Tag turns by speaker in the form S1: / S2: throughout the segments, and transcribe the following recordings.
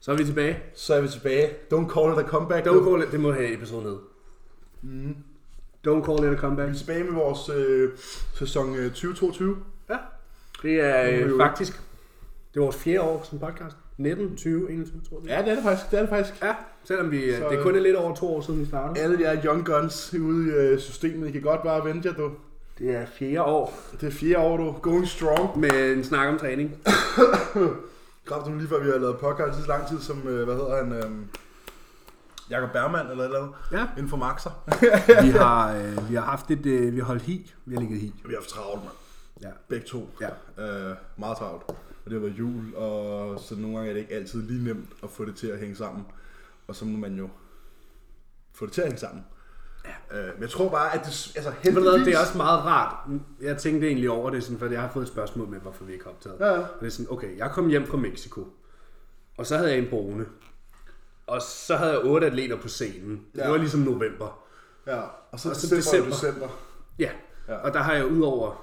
S1: Så er vi tilbage.
S2: Så er vi tilbage. Don't call it a comeback.
S1: Don't call it, det må have episode ned.
S2: Mm.
S1: Don't call it a comeback.
S2: Vi er tilbage med vores øh, sæson øh, 2022.
S1: Ja, det er
S2: Det er
S1: øh,
S2: jo-
S1: faktisk, det er vores fjerde år som podcast. 19, 20, 21, tror jeg.
S2: Ja, det er det faktisk. Det er det faktisk.
S1: Ja, selvom vi,
S2: Så-
S1: Så... det kun er lidt over to år siden vi startede.
S2: Alle jer young guns ude i øh, systemet, I kan godt bare vente jer, du.
S1: Det er fjerde år
S2: Det er fjerde år, du. Going strong.
S1: med en snak om træning.
S2: Kraft nu lige før vi har lavet podcast i så lang tid som, øh, hvad hedder han, øh, Jakob Bergmann eller et eller andet,
S1: Ja.
S2: inden for Maxer.
S1: vi, har, øh, vi har haft et, øh, vi har holdt hi. Vi har ligget hi.
S2: Vi har haft travlt, mand.
S1: Ja.
S2: Begge to.
S1: Ja.
S2: Øh, meget travlt. Og det har været jul, og så nogle gange er det ikke altid lige nemt at få det til at hænge sammen. Og så må man jo få det til at hænge sammen. Ja. Øh, men jeg tror bare, at det, altså
S1: Ved du
S2: heldigvis...
S1: hvad, Det er også meget rart. Jeg tænkte egentlig over det, sådan, for jeg har fået et spørgsmål med, hvorfor vi ikke har optaget.
S2: Ja, ja.
S1: Og det er sådan, okay, jeg kom hjem fra Mexico, og så havde jeg en brune. Og så havde jeg otte atleter på scenen. Ja.
S2: Ja.
S1: Det var ligesom november.
S2: Ja, og så,
S1: Og så
S2: december, december.
S1: Altså, december.
S2: december.
S1: Ja,
S2: Ja.
S1: ja. og der har jeg udover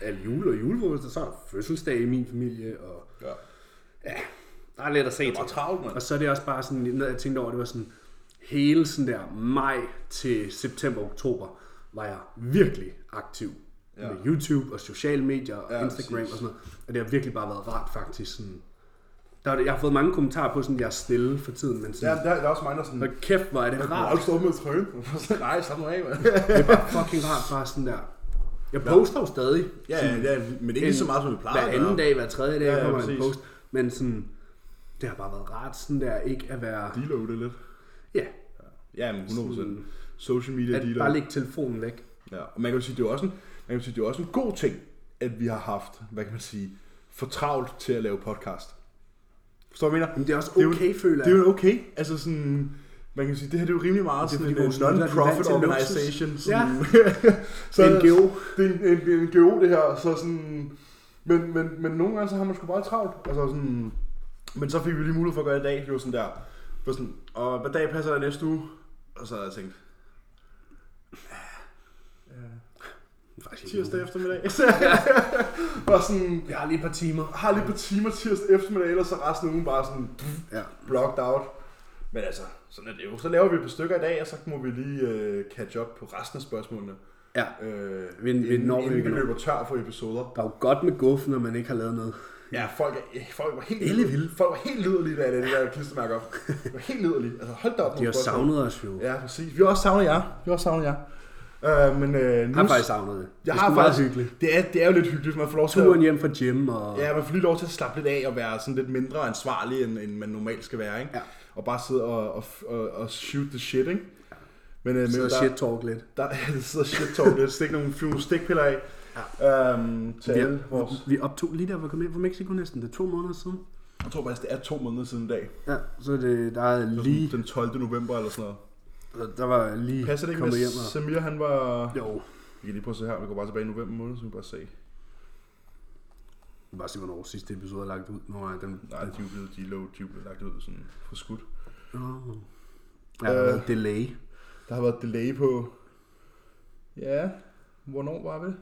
S1: al jul og julefrokost, så er der fødselsdag i min familie, og
S2: Ja.
S1: der er lidt at se til.
S2: Og travlt, mand.
S1: Og så er det også bare sådan, når jeg tænkte over, det var sådan, hele sådan der maj til september, oktober, var jeg virkelig aktiv
S2: Ja.
S1: ja. med YouTube og sociale medier og
S2: Ja,
S1: ja, Instagram
S2: præcis.
S1: og sådan noget. Og det har virkelig bare været rart faktisk. Sådan, der, er- jeg har fået mange kommentarer på, sådan, jeg er stille for tiden, men
S2: Ja,
S1: sådan,
S2: der, der er også mange, der er sådan...
S1: ja.
S2: Jeg
S1: og kæft, hvor er det
S2: kunne
S1: rart.
S2: aldrig stå med trøjen. Nej, slap nu af, mand.
S1: Det er bare fucking rart bare sådan der. Jeg poster jo stadig.
S2: ja,
S1: sådan,
S2: ja, men ikke lige så meget, som vi plejer.
S1: hver anden dag, hver tredje dag
S2: Ja,
S1: ja,
S2: ja,
S1: ja, kommer der en
S2: præcis.
S1: post. Men sådan, det har bare været rart sådan der, ikke at være...
S2: Deload det lidt.
S1: Ja,
S2: Ja, men 100%. Social media
S1: at bare lægge telefonen væk.
S2: Ja, og man kan jo sige, det er også en, man kan jo sige, det er også en god ting, at vi har haft, hvad kan man sige, for travlt til at lave podcast. Forstår du, hvad jeg mener?
S1: Men det er også
S2: Det er jo-
S1: okay, føler
S2: Det er
S1: jeg.
S2: jo okay. Altså sådan, man kan sige, det her det er jo rimelig meget
S1: Det er
S2: sådan en øh,
S1: fordi, vores lytter er vant
S2: non-profit
S1: til
S2: organization.
S1: luksus.
S2: Sådan, så
S1: Det er en
S2: det,
S1: NGO.
S2: er en, en, en NGO, det her. Så sådan, men, men, men nogle gange, så har man sgu bare travlt. Altså sådan, men så fik vi lige mulighed for at gøre det i dag. Det var sådan der, det var sådan, og hvad dag passer der næste uge? Og så havde jeg tænkt, "Ah,
S1: Faktisk ikke.
S2: tirsdag eftermiddag. Var sådan,
S1: Jeg har lige et par timer.
S2: har lige et par timer tirsdag eftermiddag, ellers så er resten af ugen bare sådan
S1: Ja.
S2: blocked out. Men altså, sådan er det jo. Så laver vi et par stykker i dag, og så må vi lige øh, catch up på resten af spørgsmålene.
S1: ja.
S2: Øh,
S1: Vi- vi
S2: inden,
S1: når
S2: inden
S1: vi
S2: vi
S1: når.
S2: løber tør for episoder.
S1: Der er jo godt med guf, når man ikke har lavet noget.
S2: Ja, folk, er, eh, folk var helt
S1: Ellevilde.
S2: liderlige. Folk var helt liderlige, da jeg lavede det der klistermærke op. Det var helt liderlige. Altså, hold da op
S1: De har
S2: spørgsmål.
S1: savnet os jo. Jeg
S2: Ja, præcis. Vi har også savnet jer. Vi har også savnet jer. Øh, men øh, nu...
S1: har faktisk savnet det.
S2: jeg
S1: det
S2: har
S1: sgu
S2: faktisk...
S1: meget hyggeligt.
S2: Det er, det er jo lidt hyggeligt, man får lov til at...
S1: Turen hjem fra gym og...
S2: Ja, man får lige lov til at slappe lidt af og være sådan lidt mindre ansvarlig, end, end man normalt skal være, ikke?
S1: Ja.
S2: Og bare sidde og, og, og, og shoot the shit, ikke? Men, øh, men
S1: Så
S2: der,
S1: shit talk lidt.
S2: Der, ja, der sidder shit talk lidt. Stik nogle, fyr nogle stikpiller af. Ja. Øhm, til
S1: Vi,
S2: alle vores...
S1: vi optog lige der, hvor vi kom hjem fra Mexico næsten. Det er to måneder siden.
S2: Jeg tror faktisk, det er to måneder siden i dag.
S1: Ja, så er det, der er lige...
S2: Lige. Den 12. november eller sådan noget.
S1: Der var lige
S2: Passer det ikke med,
S1: kommet hjem og...
S2: Samir, han var...
S1: Jo,
S2: Vi kan lige prøve at se her. Vi går bare tilbage i november måned, så vi kan bare se.
S1: Jeg kan bare se, hvornår sidste episode er lagt ud. Nå, nej, den...
S2: Nej, de er jo blevet, de er low, de er blevet lagt ud sådan for skudt.
S1: Nå. Ja, der har
S2: Øh.
S1: været delay.
S2: Der har været delay på... Ja, hvornår var det?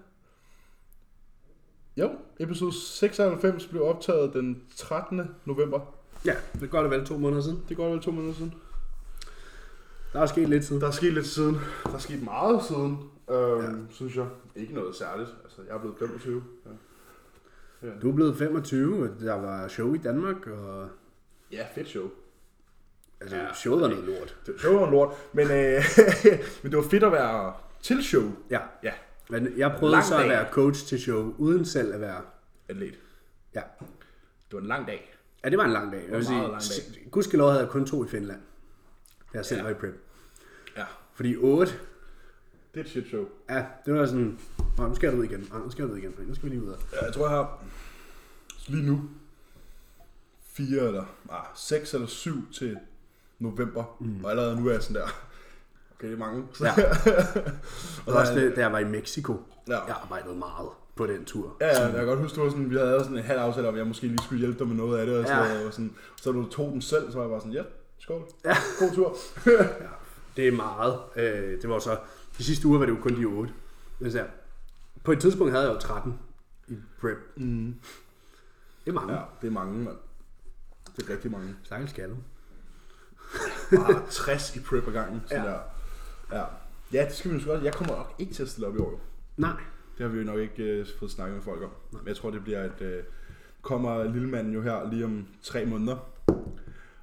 S2: Jo, episode 96 blev optaget den 13. november.
S1: Ja, det gør det vel to måneder siden.
S2: Det er godt vel to måneder siden.
S1: Der er sket lidt siden.
S2: Der er sket lidt siden. Der er sket meget siden, øhm, ja. synes jeg. Ikke noget særligt. Altså, jeg er blevet 25. Ja,
S1: Du er blevet 25, og der var show i Danmark, og
S2: ja fedt show.
S1: altså,
S2: Ja.
S1: ja. showet var noget lort.
S2: Det var show og lort, men, øh, men det var fedt at være til show.
S1: Ja,
S2: Ja,
S1: men jeg prøvede
S2: Lang
S1: så at
S2: dag.
S1: være coach til show, uden selv at være...
S2: atlet.
S1: Ja,
S2: Det var en lang dag.
S1: ja det var en lang dag. Jeg vil
S2: meget
S1: sige,
S2: lang dag.
S1: s- gudskelov havde jeg kun to i Finland, da jeg selv
S2: Ja.
S1: ja. var i prep.
S2: Ja.
S1: Fordi otte,
S2: Det er et shit show.
S1: ja, det var sådan... Nå, nu skal jeg ud igen. Nå, nu skal jeg ud igen. Nu skal vi lige ud. af."
S2: Ja, jeg tror, jeg har lige nu fire eller ah, seks eller syv til november. Mm. Og allerede nu er jeg sådan der. Okay, det er mange.
S1: Ja.
S2: og
S1: Og
S2: der,
S1: også
S2: er-
S1: det, da jeg var i Mexico.
S2: Ja.
S1: Jeg arbejdede meget på den tur.
S2: Ja, ja, jeg kan godt huske, det var sådan, vi havde lavet sådan en halv aftale om, at jeg måske lige skulle hjælpe dig med noget af det. Og sådan,
S1: Ja.
S2: noget, og sådan, så du tog den selv, så var jeg bare sådan, ja, skål. Ja. God tur.
S1: Det er meget. Øh, det var så... De sidste uger var det jo kun de 8. Men så, på et tidspunkt havde jeg jo 13 i prep. Mm. Det er mange.
S2: ja, det er mange, mand. Det er rigtig mange.
S1: Stakkels Callum.
S2: Bare 60 i prep ad gangen. Sådan
S1: Ja.
S2: ja. Der. ja. Ja, det skal vi måske også. Jeg kommer nok ikke til at stille op i år. jo.
S1: Nej.
S2: Det har vi jo nok ikke øh, fået snakket med folk om. Men jeg tror, det bliver et... Øh, kommer lillemanden jo her lige om tre måneder.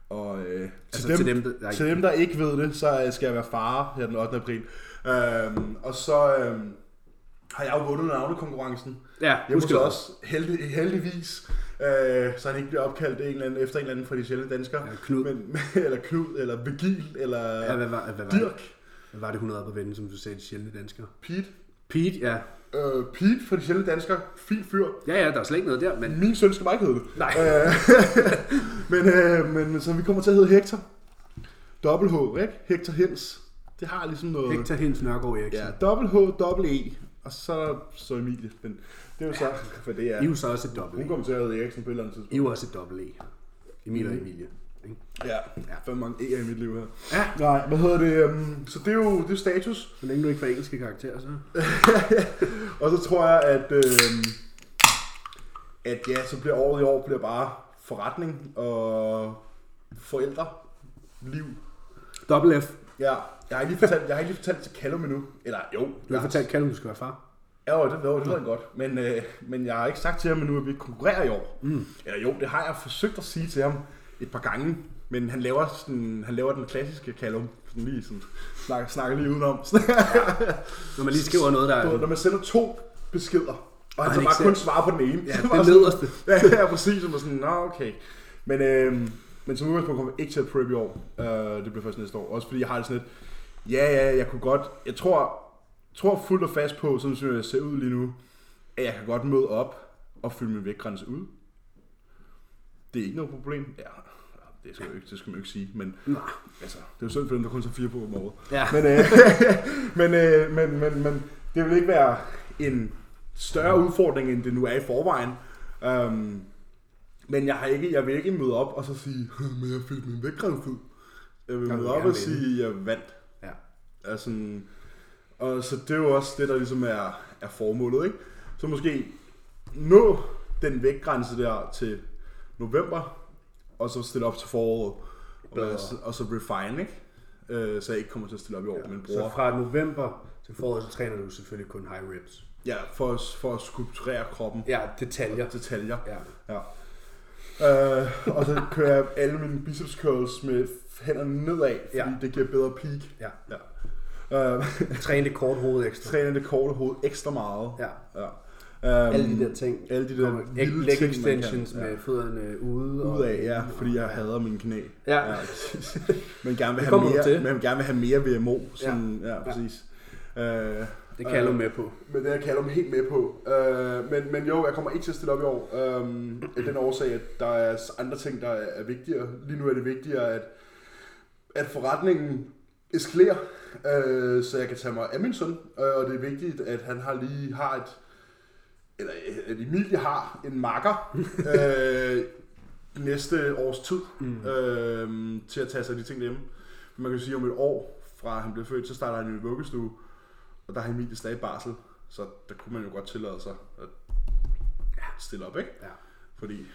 S2: Og øh,
S1: Altså,
S2: til, dem,
S1: til dem, der- der ikke-
S2: til dem, der ikke ved det, så øh, skal jeg være far her den 8. april. Øhm, og så øhm, har jeg jo vundet navnekonkurrencen.
S1: Ja,
S2: Jeg måske også heldig, heldigvis, øh, så han ikke bliver opkaldt en eller anden, efter en eller anden fra de sjældne danskere.
S1: Ja, Knud.
S2: Men, eller Knud, eller Vigil, eller
S1: Ja, hvad, var, hvad, var det,
S2: Dirk,
S1: hvad var det, hun havde på vende, som du sagde, de sjældne danskere?
S2: Pete.
S1: Pete, ja.
S2: Øh, Pete fra de sjældne danskere, fin fyr.
S1: Ja, ja, der er slet ikke noget der, men...
S2: Min søn skal bare ikke hedde det.
S1: Nej.
S2: Øh, men, øh, men så vi kommer til at hedde Hector. Dobbelt H, ikke? Hector Hens. Det har ligesom noget...
S1: Hector Hens Nørgaard Eriksen.
S2: Ja,
S1: Ja.
S2: dobbelt H, dobbelt E. Og så, så Emilie. Men det er jo så, for det
S1: I er
S2: er...
S1: jo så også et dobbelt E.
S2: Hun kommer til at hedde Eriksen på et eller andet tidspunkt.
S1: I er jo også et dobbelt E. Emil
S2: Mm.
S1: og Emilie. ikke?
S2: Ja, fandme mange E'er i mit liv her.
S1: Ja.
S2: Nej, hvad hedder det? øhm, Så det er jo det er status.
S1: Så længe du ikke får engelske karakterer, så...
S2: Og så tror jeg, at, øhm, at ja, så bliver året i år bliver bare forretning og forældre. Liv.
S1: Dobbelt F.
S2: Ja, jeg har ikke lige fortalt, jeg har ikke lige fortalt til Callum endnu. Eller jo,
S1: Du har fortalt Callum, du skal være far.
S2: Ja, jo, det, jo, det ved jeg godt. Men, øh, men jeg har ikke sagt til ham endnu, at vi ikke konkurrerer i år. Mm. Eller jo, det har jeg forsøgt at sige til ham et par gange. Men han laver, sådan, han laver den klassiske Callum. Sådan lige sådan, snakker, snakker lige udenom.
S1: Når man lige skriver noget, der er...
S2: Du ved, når man sender to beskeder, og han
S1: han
S2: så
S1: ikke
S2: bare
S1: selv-
S2: kun svarer på den ene.
S1: Ja,
S2: så
S1: den
S2: var jeg sådan-
S1: nederste.
S2: ja, ja, præcis. Og man sådan, nå, okay. Men, øhm, men som udgangspunkt kommer jeg ikke til at prep i år. Øh, det bliver først næste år. Også fordi jeg har det sådan lidt, ja, ja, jeg kunne godt, jeg tror, tror fuldt og fast på, sådan som jeg ser ud lige nu, at jeg kan godt møde op og fylde min vægtgrænse ud. Det er ikke noget problem. Ja, det skal, jo ikke, det skal man jo ikke sige, men
S1: Nej.
S2: altså, det er jo synd for dem, der kun tager fire på om året.
S1: Ja.
S2: Men, øh, men, øh, men, men, men det vil ikke være en større udfordring, end det nu er i forvejen. Um, men jeg, har ikke, jeg vil ikke møde op og så sige, "Hm, men jeg fik min vægtgrænse ud. Jeg vil
S1: Jeg vil
S2: møde op
S1: gerne
S2: og sige, jeg vandt.
S1: Ja.
S2: Altså, og så det er jo også det, der ligesom er, er formålet, ikke? Så måske nå den vægtgrænse der til november, og så stille op til foråret, og, være- og så refine, ikke? Øh, så jeg ikke kommer til at stille op i år, ja, men
S1: Så
S2: bruger...
S1: fra november til foråret, så træner du selvfølgelig kun high reps.
S2: Ja, for, at- for at skulpturere kroppen
S1: Ja, detaljer.
S2: ja. detaljer.
S1: Ja.
S2: Ja. Øh, og så kører jeg alle mine biceps curls med hænderne nedad, fordi
S1: Ja.
S2: ja. det giver bedre peak.
S1: Ja.
S2: Ja. Øh,
S1: Træne det kort hoved ekstra.
S2: træner det korte hoved ekstra meget.
S1: Ja.
S2: ja. Øhm,
S1: Alle de der ting.
S2: Alle de der
S1: Kommer-
S2: vilde
S1: leg
S2: ting, man
S1: extensions
S2: kan, ja.
S1: med fødderne ude. og-
S2: ud af, ja, fordi jeg hader mine knæ.
S1: Ja.
S2: præcis. men gerne vil have
S1: kommer du
S2: mere,
S1: til.
S2: men gerne vil have mere VMO, sådan, ja, ja præcis. Øh,
S1: Det kan du med på.
S2: Men det er Callum helt med på. Øh, men, men jo, jeg kommer ikke til at stille op i år. Øh, af den årsag, at der er andre ting, der er er vigtigere. Lige nu er det vigtigere, at, at forretningen eskalerer, øh, så jeg kan tage mig af min søn. Øh, og det er vigtigt, at han har lige har et... Eller at Emilie har en makker øh, næste års tid mm. øh, til at tage sig af de ting derhjemme. Man kan jo sige, om et år fra han blev født, så starter han i en vuggestue. Og der har Emilie stadig barsel, så der kunne man jo godt tillade sig at stille op, ikke?
S1: Ja.
S2: Fordi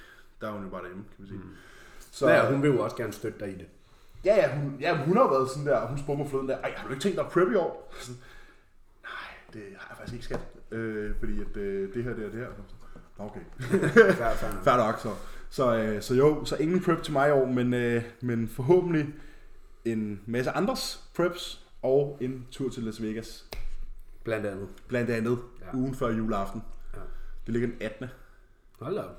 S2: der er hun jo bare derhjemme, kan man sige. Mm. Så,
S1: Ja, hun vil jo også gerne støtte dig i det.
S2: ja, ja, hun, ja, hun har været sådan der, og hun spurgte mig forleden der, ej, har du ikke tænkt dig at prep i år? Sådan, Nej, det har jeg faktisk ikke, skat. Øh, fordi at, øh, det her, det her, det her. Nå, Okay.
S1: Fair, fair nok.
S2: Fair nok, så. Så, øh, så jo, så ingen prep til mig i år, men, øh, men forhåbentlig en masse andres preps og en tur til Las Vegas.
S1: Blandt andet.
S2: Blandt andet
S1: Ja.
S2: ja. ugen før juleaften.
S1: Ja.
S2: Ja. Det ligger den 18. Jeg
S1: Hold da op.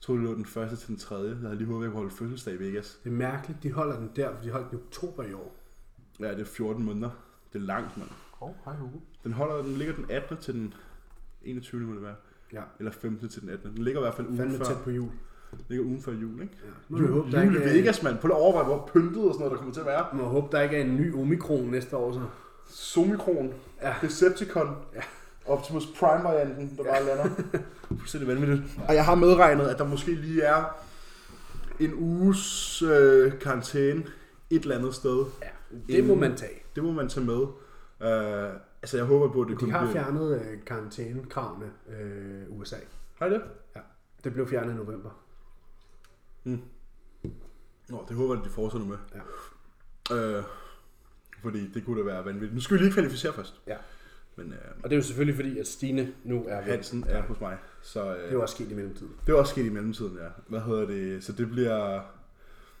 S2: troede, det lå den første til den tredje. Jeg havde lige håbet, at jeg kunne holde fødselsdag i Vegas.
S1: Det er mærkeligt, de holder den der, for de holdt den i oktober i år.
S2: Ja, det er 14 måneder. Det er langt, mand.
S1: Oh, hej Hugo.
S2: Den, holder, den ligger den 18. til den 21. må det være.
S1: Ja,
S2: Eller 15. til den 18. Den ligger i hvert fald ugen
S1: fandme
S2: før,
S1: tæt på jul.
S2: ligger ugen før jul, ikke?
S1: Ja. Må vi
S2: Jul,
S1: håbe,
S2: jul,
S1: der
S2: jul i
S1: ikke, er-
S2: Vegas, mand. Prøv lige at overveje, hvor pyntet og sådan noget, der kommer til at være.
S1: må håbe, der ikke er en ny omikron næste år, så.
S2: Somikron,
S1: Ja.
S2: ja. Decepticon,
S1: Ja.
S2: ja. Optimus Prime-varianten, der bare lander. Fuldstændig vanvittigt. Og jeg har medregnet, at der måske lige er en uges øh, karantæne et eller andet sted.
S1: Ja, det må
S2: Inden-
S1: man tage.
S2: Det må man tage med. Øh, altså, jeg håber på, at det
S1: De
S2: kun
S1: har
S2: bliver...
S1: fjernet øh, karantænekravene øh, USA.
S2: Har I det?
S1: Ja. Det blev fjernet i november.
S2: Mm. Nå, det håber jeg, at de fortsætter med.
S1: Ja.
S2: Øh, fordi det kunne da være vanvittigt. Nu skal vi lige kvalificere først.
S1: Ja.
S2: Men øh,
S1: Og det er jo selvfølgelig fordi, at Stine nu er ved.
S2: Hansen er hos mig. Så øh,
S1: Det var også sket i mellemtiden.
S2: Det er også sket i mellemtiden, ja. Hvad hedder det? Så det bliver,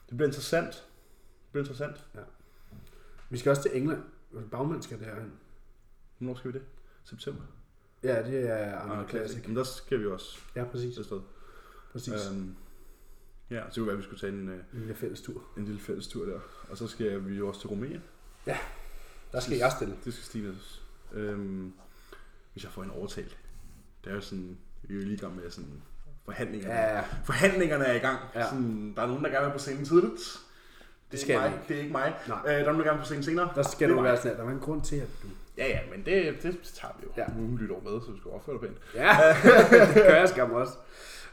S2: det bliver interessant. Det bliver interessant.
S1: Vi skal også til England. Bagmand skal det her hen.
S2: Hvornår skal vi det? September.
S1: Ja, det er Arnold
S2: Ah,
S1: Classic.
S2: Men der skal vi også
S1: Ja, præcis.
S2: til sted.
S1: præcis.
S2: Øhm, ja, så det kunne være, at vi skulle tage en, øh,
S1: En lille fælles tur.
S2: en lille fælles tur der. Og så skal vi jo også til Rumænien.
S1: Der skal jeg stille.
S2: Det skal Stine også. Øhm, hvis jeg får en overtalt. Det er jo sådan, vi er jo lige i gang med sådan forhandlingerne.
S1: Ja, ja.
S2: Forhandlingerne er i gang.
S1: Ja.
S2: Sådan, der er nogen, der gerne vil på scenen tidligt. Det,
S1: skal
S2: er
S1: vi
S2: ikke mig. Det er ikke mig.
S1: Nej.
S2: Øh, der er nogen, der gerne vil på scenen senere.
S1: Der skal
S2: Det er
S1: du
S2: mig.
S1: være sådan, at der var en grund til, at du...
S2: Ja, ja, men det, det tager vi jo.
S1: Ja.
S2: Ja. Nu lytter over med, så vi skal opføre dig pænt.
S1: Ja, det gør jeg skam også.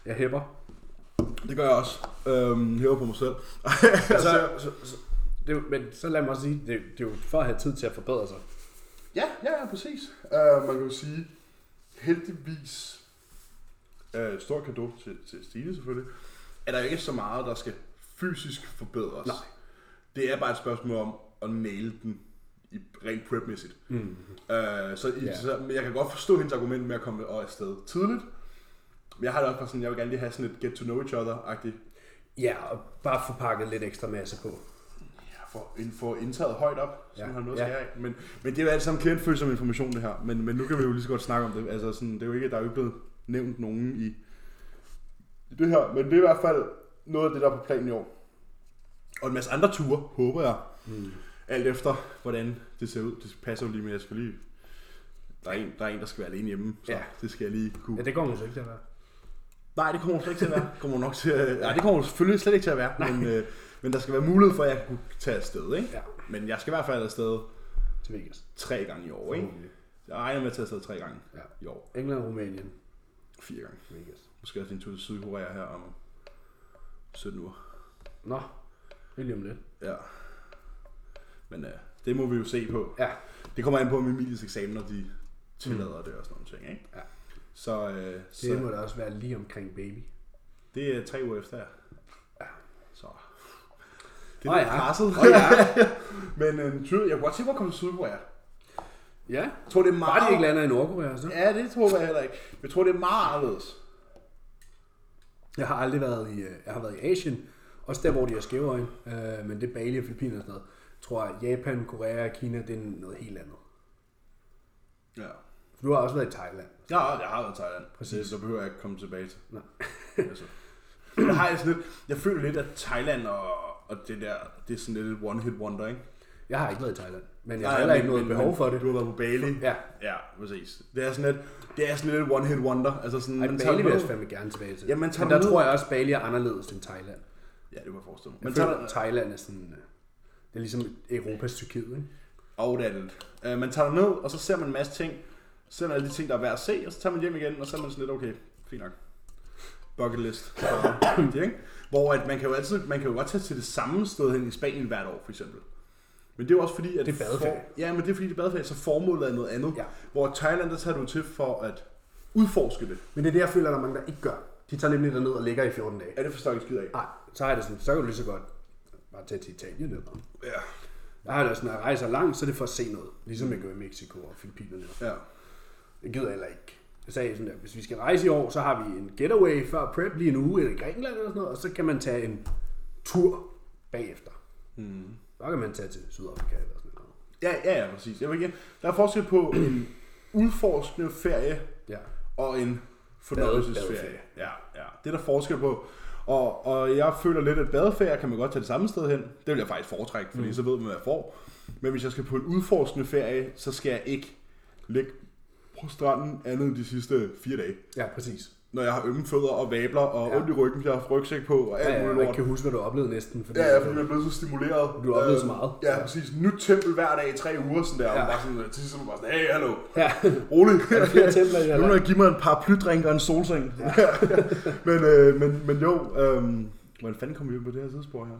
S1: Jeg hæpper.
S2: Det gør jeg også. Øhm, hæver på mig selv. Altså-
S1: Så, så, så, det, men så lad mig også sige, det, det er jo for at have tid til at forbedre sig.
S2: ja, ja, ja, præcis. Øh, man kan jo sige, heldigvis, øh, stor kado til, til Stine selvfølgelig, er der jo ikke så meget, der skal fysisk forbedres.
S1: Nej.
S2: Det er bare et spørgsmål om at næle den i, rent prep-mæssigt.
S1: Mm.
S2: Øh, så, i,
S1: Ja.
S2: ja. så, men jeg kan godt forstå hendes argument med at komme og afsted tidligt. Men jeg har det også bare sådan, jeg vil gerne lige have sådan et get to know each other-agtigt.
S1: Ja, og bare få pakket lidt ekstra masse på.
S2: Ja, for, ind- for indtaget højt op, så
S1: Ja.
S2: ja. har noget
S1: Ja.
S2: ja. af. Men, men det er jo alt sammen klientfølsom information, det her. Men, men nu kan vi jo lige så godt snakke om det. Altså, sådan, det er jo ikke, der er jo ikke blevet nævnt nogen i, i det her. Men det er i hvert fald noget af det, der er på planen i år. Og en masse andre ture, håber jeg.
S1: Mm.
S2: Alt efter, hvordan det ser ud. Det passer jo lige med, jeg skal lige... Der er en, der, er en, der skal være alene hjemme, så
S1: Ja.
S2: ja. det skal jeg lige kunne...
S1: Ja, det går jo så ikke til at være.
S2: Nej, det kommer hun slet ikke til at være. Kommer hun nok til at, nej, det kommer hun selvfølgelig slet ikke til at være. Men, øh, men der skal være mulighed for, at jeg kunne tage afsted. Ikke?
S1: Ja.
S2: Men jeg skal i hvert fald afsted
S1: Til Vegas.
S2: tre gange i år. Ikke? Jeg regner med at tage afsted tre gange
S1: Ja.
S2: i år.
S1: England, Rumænien,
S2: Fire gange.
S1: Vegas.
S2: Måske også en tur til Sydkorea her om 17 uger.
S1: Nå, det er lige om lidt.
S2: Ja. Men øh, det må vi jo se på.
S1: Ja,
S2: Det kommer an på, om Emilies eksamener de tillader det og sådan nogle ting. Ikke?
S1: Ja.
S2: Så, øh, så
S1: det må da også være lige omkring baby.
S2: det er tre uger efter. Ja. Så. Det
S1: Nå
S2: er lidt
S1: ja.
S2: presset.
S1: Nå ja.
S2: Men øh, tydeligt- jeg kunne godt tænke mig at komme til Sydkorea.
S1: Ja,
S2: Jeg tror, det
S1: bare
S2: er meget...
S1: de ikke lander i Nordkorea, så.
S2: Ja, det tror jeg heller ikke. Men Jeg tror, det er meget anderledes.
S1: Jeg har aldrig været i, øh, jeg har været i Asien, også der, hvor de har skæve øjne, øh, men det er Bali og Filippiner og sådan noget. Jeg tror, at Japan, Korea og Kina, det er noget helt andet.
S2: Ja.
S1: For du har også været i Thailand.
S2: Ja, jeg har været i Thailand.
S1: Præcis.
S2: Præcis. Så behøver jeg ikke komme tilbage til.
S1: Nej.
S2: altså. Jeg har jeg sådan lidt, jeg føler lidt, at Thailand og, og det der, det er sådan lidt et one hit wonder, ikke?
S1: Jeg har ikke været i Thailand, men jeg har heller ikke noget behov for det.
S2: Du har været på Bali.
S1: Ja.
S2: Ja, præcis. Det er sådan lidt, det er sådan lidt et one hit wonder. Altså sådan,
S1: Ej,
S2: man tager
S1: Bali vil jeg
S2: ned-
S1: fandme gerne tilbage til.
S2: Ja, man tager
S1: men der
S2: ned-
S1: tror jeg også, Bali er anderledes end Thailand.
S2: Ja, det må jeg forestille mig.
S1: Jeg
S2: Men
S1: føler,
S2: tager,
S1: Thailand er sådan... øh, Det er ligesom Europas Tyrkiet, ikke?
S2: og det er det lidt. Øh, man tager ned, og så ser man en masse ting. Så ser man alle de ting, der er værd at se, og så tager man hjem igen, og så er man sådan lidt, okay, fint nok. Bucket list. Det, ikke? Hvor at man kan jo altid, man kan jo godt tage til det samme sted hen i Spanien hvert år, for eksempel. Men det er jo også fordi, at...
S1: Det er badeferie.
S2: For, ja, men det er fordi, det er badeferie, så formålet er noget andet.
S1: Ja.
S2: Hvor i Thailand, der tager du til for at udforske det.
S1: Men det er det, jeg føler, at der er mange, der ikke gør. De tager nemlig derned og ligger i 14 dage.
S2: Er det forstår jeg ikke skid af?
S1: Nej, så er det sådan, så kan du lige så godt bare tage til Italien eller noget.
S2: Ja.
S1: Jeg har det sådan, når jeg rejser langt, så er det for at se noget. Ligesom jeg gør i Mexico og Filippinerne.
S2: Ja.
S1: Det gider jeg heller ikke. Jeg sagde sådan der, hvis vi skal rejse i år, så har vi en getaway før prep lige en uge eller i Grækenland eller sådan noget, og så kan man tage en tur bagefter.
S2: Mm.
S1: Så kan man tage til Sydafrika eller sådan noget.
S2: Ja, ja, ja, præcis. Jeg vil ikke, der er forskel på en udforskende ferie
S1: Ja.
S2: og en
S1: Badeferie.
S2: fornøjelsesferie. Ja, ja. Det er der forskel på. Og, og jeg føler lidt, at badeferie kan man godt tage det samme sted hen. Det vil jeg faktisk foretrække, fordi mm. så ved man, hvad jeg får. Men hvis jeg skal på en udforskende ferie, så skal jeg ikke ligge på stranden andet end de sidste fire dage.
S1: Ja, præcis.
S2: Når jeg har ømme fødder og vabler og
S1: Ja.
S2: ja. ondt i ryggen, jeg har rygsæk på og alt
S1: Ja,
S2: ja,
S1: ja,
S2: muligt
S1: man
S2: lort.
S1: ikke kan huske, hvad du oplevede næsten. Fordi
S2: Ja, ja, fordi man er blevet så stimuleret.
S1: Du har oplevet så meget.
S2: Ja, præcis. Nyt tempel hver dag i tre uger, sådan der.
S1: Ja.
S2: Ja. Og bare sådan, til sidst, så er man bare sådan, hey, hallo,
S1: ja.
S2: rolig.
S1: Der er flere templer, jeg
S2: Nu
S1: har
S2: når jeg give mig en par plydrink og en solseng. Ja. men, øh, men, men jo, øh, hvordan fanden kom vi ud på det her sidespor her?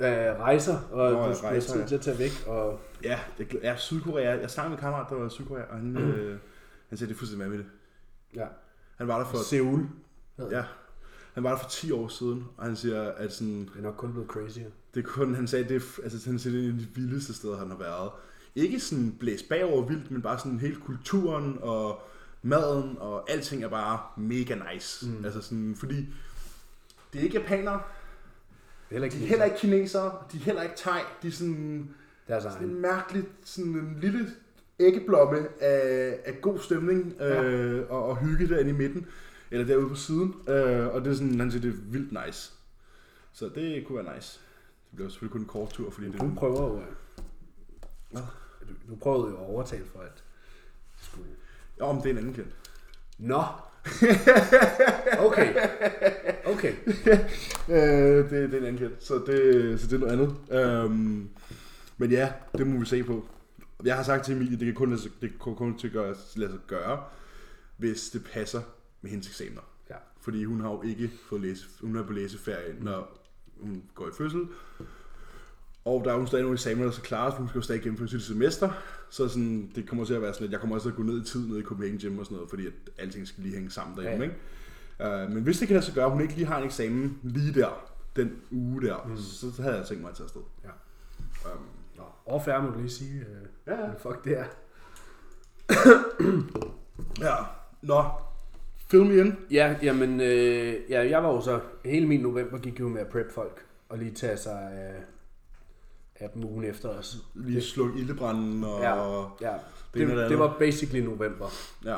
S1: øh, rejser, og
S2: Nå,
S1: Nå,
S2: ja,
S1: du skal have
S2: rejser,
S1: tid
S2: ja.
S1: til at tage væk. Og
S2: Ja, det gl- ja Sydkorea. Jeg snakkede med en kammerat, der var i Sydkorea, og han, øh, han sagde, det er fuldstændig vanvittigt.
S1: ja.
S2: Han var der for...
S1: Seoul.
S2: Ja. Han var der for 10 år siden, og han siger, at sådan,
S1: Det er nok kun blevet crazier.
S2: det er kun, han sagde, det er, f- altså, han siger, det er en af de vildeste steder, han har været. Ikke sådan blæst bagover vildt, men bare sådan hele kulturen og maden og alting er bare mega nice. Mm. Altså sådan, fordi det er ikke japanere,
S1: Det er heller ikke,
S2: de er heller ikke kinesere, de er heller ikke thai, de er sådan,
S1: Deres
S2: sådan
S1: egen.
S2: Altså, en mærkelig, sådan en lille æggeblomme af, af god stemning øh, og, og hygge derinde i midten, eller derude på siden, øh, og det er sådan, han siger, det er vildt nice. Så det kunne være nice. Det bliver selvfølgelig kun en kort tur, fordi det
S1: Du
S2: er
S1: prøver jo...
S2: Hvad?
S1: Du, du prøvede jo at overtale for, at det skulle...
S2: Ja, om det er en anden kendt.
S1: Nå! Okay. Okay.
S2: Øh, det, det er en anden kendt, så det, så det er noget andet. Øhm, men ja, det må vi se på. Jeg har sagt til Emilie, det kan kun, lade sig- det kan kun til gøre, lade sig gøre, hvis det passer med hendes eksamener.
S1: Ja.
S2: Fordi hun har jo ikke fået læse, hun er på læseferie, når hun går i fødsel. Og der er jo stadig nogle eksamener, der skal klares, for hun skal jo stadig gennemføre sit semester. Så sådan, det kommer til at være sådan, at jeg kommer også til at gå ned i tid ned i Copenhagen Gym og sådan noget, fordi at alting skal lige hænge sammen derhjemme,
S1: Ja,
S2: ja. ikke? Uh, men hvis det kan lade sig gøre, at hun ikke lige har en eksamen lige der, den uge der, mm. så, så havde jeg tænkt mig at tage afsted.
S1: Ja.
S2: Um,
S1: Nå, overfærd må du lige sige, øh,
S2: Ja, ja.
S1: hvad fuck det er.
S2: ja. Nå, film igen.
S1: Ja, jamen, øh, ja, jeg var jo så, hele min november gik jo med at prep folk, og lige tage sig af, af dem ugen efter os.
S2: Lige slukke ildebranden og...
S1: Ja, ja.
S2: det ene
S1: Det,
S2: og det
S1: det
S2: andet.
S1: var basically november.
S2: ja.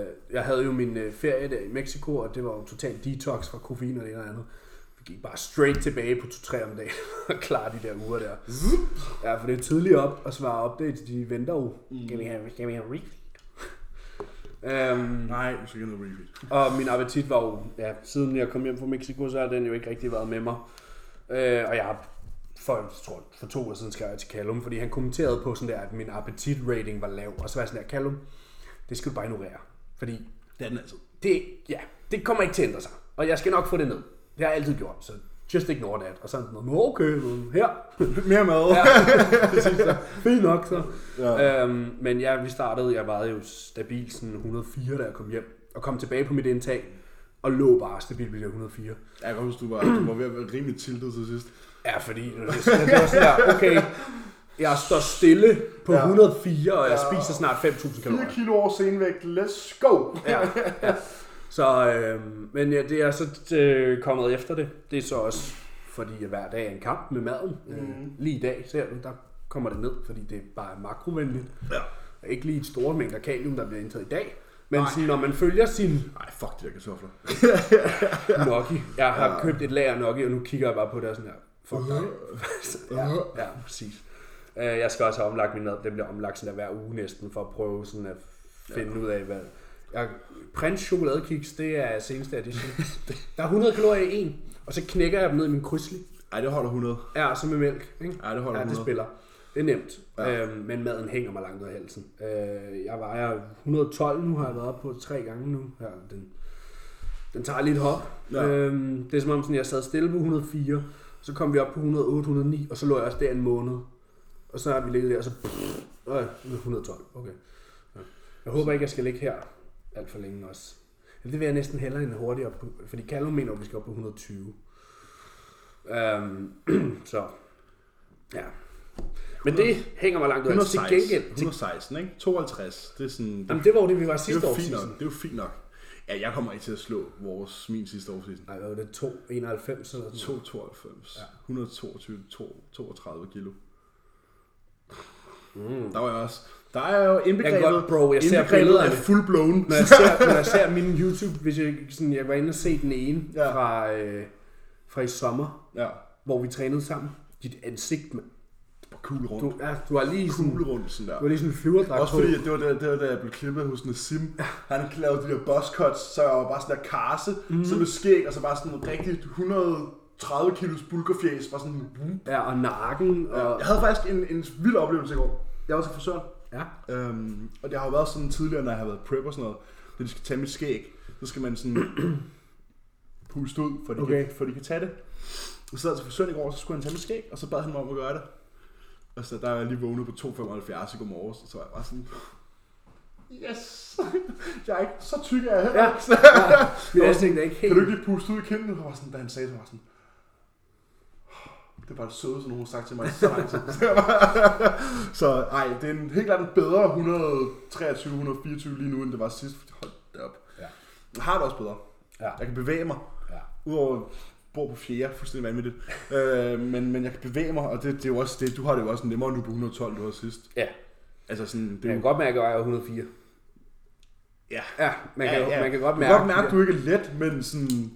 S1: Øh, jeg havde jo min øh, ferie der i Mexico, og det var jo total detox fra koffein og det ene og andet. Vi gik bare straight tilbage på 2-3 om dagen og klar de der uger der. Ja, for det er tidligt op at svare updates, de venter jo. Skal vi have, skal vi have refeed? Øhm,
S2: Nej, så kan jeg noget refeed.
S1: Og min appetit var jo, ja, siden jeg kom hjem fra Mexico, så har den jo ikke rigtig været med mig. Øh, og jeg har for, jeg tror, for to år siden skrev jeg til Callum, fordi han kommenterede på sådan der, at min appetit rating var lav. Og så var jeg sådan der, Callum, det skal du bare ignorere. Fordi
S2: Det er den altså. altid.
S1: det, ja, det kommer ikke til at ændre sig. Og jeg skal nok få det ned. Det har jeg altid gjort, så just ignore that. Og så er han sådan, "Nå, okay, men her,
S2: Lidt mere mad.
S1: Ja, præcis, så. Fint nok, så. Ja. Øhm, men ja, vi startede, jeg vejede jo stabilt sådan 104, da jeg kom hjem. Og kom tilbage på mit indtag, og lå bare stabilt ved de 104.
S2: Jeg kan huske, du var, du var ved at være rimelig tiltet til sidst.
S1: Ja, fordi det var sådan der, okay, jeg står stille på ja. 104, og jeg spiser snart 5.000 kalorier.
S2: kilo over senvægt, let's go!
S1: Ja, ja. Så, øhm, men ja, det er så øh, kommet efter det. Det er så også, fordi jeg hver dag er en kamp med maden. Mm. Øh, lige i dag, ser du, der kommer det ned, fordi det bare er makrovenligt.
S2: Ja.
S1: er ikke lige et store mængder kalium, der bliver indtaget i dag. Men sådan, når man følger sin
S2: Ej, fuck de der kartofler.
S1: Noki, jeg har ja. købt et lager Noki, og nu kigger jeg bare på det og sådan her, fuck dig. Så, ja, ja, præcis. Øh, Jeg skal også have omlagt min mad, den bliver omlagt sådan der hver uge næsten, for at prøve sådan at finde ja. ud af, hvad... Jeg, prins chokoladekiks, det er seneste edition. Der er 100 kalorier i en, og så knækker jeg dem ned i min krydsli.
S2: Ej, det holder 100.
S1: Ja, og så med mælk. Ikke?
S2: Ja, det holder
S1: ja, det
S2: 100.
S1: spiller. Det er nemt. Ja. Øhm, men maden hænger mig langt ud af halsen. Øh, jeg vejer 112 nu, har jeg været oppe på tre gange nu. Ja, den, den tager lidt hop. Ja.
S2: Ja.
S1: Øhm, det er som om, sådan, jeg sad stille på 104, så kom vi op på 108, 109, og så lå jeg også der en måned. Og så har vi ligget der, og så... Pff, øh, 112, okay. Ja. Jeg håber ikke, jeg skal ligge her alt for længe også. Eller det vil jeg næsten hellere end hurtigt op på, fordi Callum mener, at vi skal op på 120. Øhm, så, ja. Men det hænger mig langt ud. af. Til
S2: 116,
S1: gengæld, til,
S2: 116, ikke? 52. Det er sådan... Det,
S1: jamen, det var jo det, vi var
S2: det
S1: sidste
S2: er jo
S1: år.
S2: fint
S1: season.
S2: nok. Det er jo fint nok. Ja, jeg kommer ikke til at slå vores, min sidste årsiden.
S1: Nej, hvad var det? 291 eller sådan noget.
S2: 292, 122, 2, 32 kilo. Mm. Der var jeg også. Der er jo indbegrebet,
S1: Jeg kan godt, bro, jeg ser
S2: indbegrebet
S1: billederne.
S2: af full blown.
S1: når jeg ser, når jeg ser min YouTube, hvis jeg, sådan, jeg var inde og se den ene ja.
S2: Ja.
S1: fra, øh, fra i sommer,
S2: Ja,
S1: hvor vi trænede sammen. Dit ansigt, mand.
S2: bare kugle rundt.
S1: Du, ja, du har lige sådan,
S2: Kugle rundt sådan der.
S1: du har lige sådan en flyverdragt
S2: Også fordi, at det var da, det var, da jeg blev klippet hos Nassim. Han lavede de der buzz cuts, så jeg var bare sådan der karse, mm. så med skæg, og så bare sådan en rigtig 130 kilos bulkerfjæs. Bare sådan, mm.
S1: Ja, og nakken. Og,
S2: Jeg havde faktisk en, en vild oplevelse i går. Jeg var til frisøren.
S1: ja.
S2: Øhm, og det har jo været sådan tidligere, når jeg har været prep og sådan noget, når de skal tage mit skæg, så skal man sådan puste ud, for de, okay.
S1: Okay.
S2: kan, for de kan tage det. Og så sad jeg til frisøren i går, og så skulle han tage mit skæg, og så bad han mig om at gøre det. Og så der er jeg lige vågnet på 2.75 i går morges, og så var jeg bare sådan, yes! jeg er ikke så tyk af heller.
S1: Ja.
S2: Ja.
S1: Min ansigt er ikke helt...
S2: Kan du ikke lige puste ud i kinden? Og jeg var sådan, da han sagde det, så var jeg sådan, det var det sødeste, nogen har sagt til mig i så lang tid. så ej, det er en, helt klart en bedre 123-124 lige nu, end det var sidst. fordi Hold da op.
S1: Ja.
S2: Jeg har det også bedre.
S1: Ja.
S2: Jeg kan bevæge mig.
S1: Ja.
S2: Udover at jeg bor på fjerde, fuldstændig vanvittigt. øh, men, men jeg kan bevæge mig, og det, det er jo også det. Du har det jo også nemmere nu på 112, du havde sidst.
S1: ja.
S2: Altså sådan, det
S1: Man
S2: er jo
S1: kan godt mærke, at jeg er 104.
S2: Ja.
S1: Ja, man kan, ja, ja. Man kan godt
S2: du
S1: mærke...
S2: kan godt mærke, at du ikke er let, men sådan,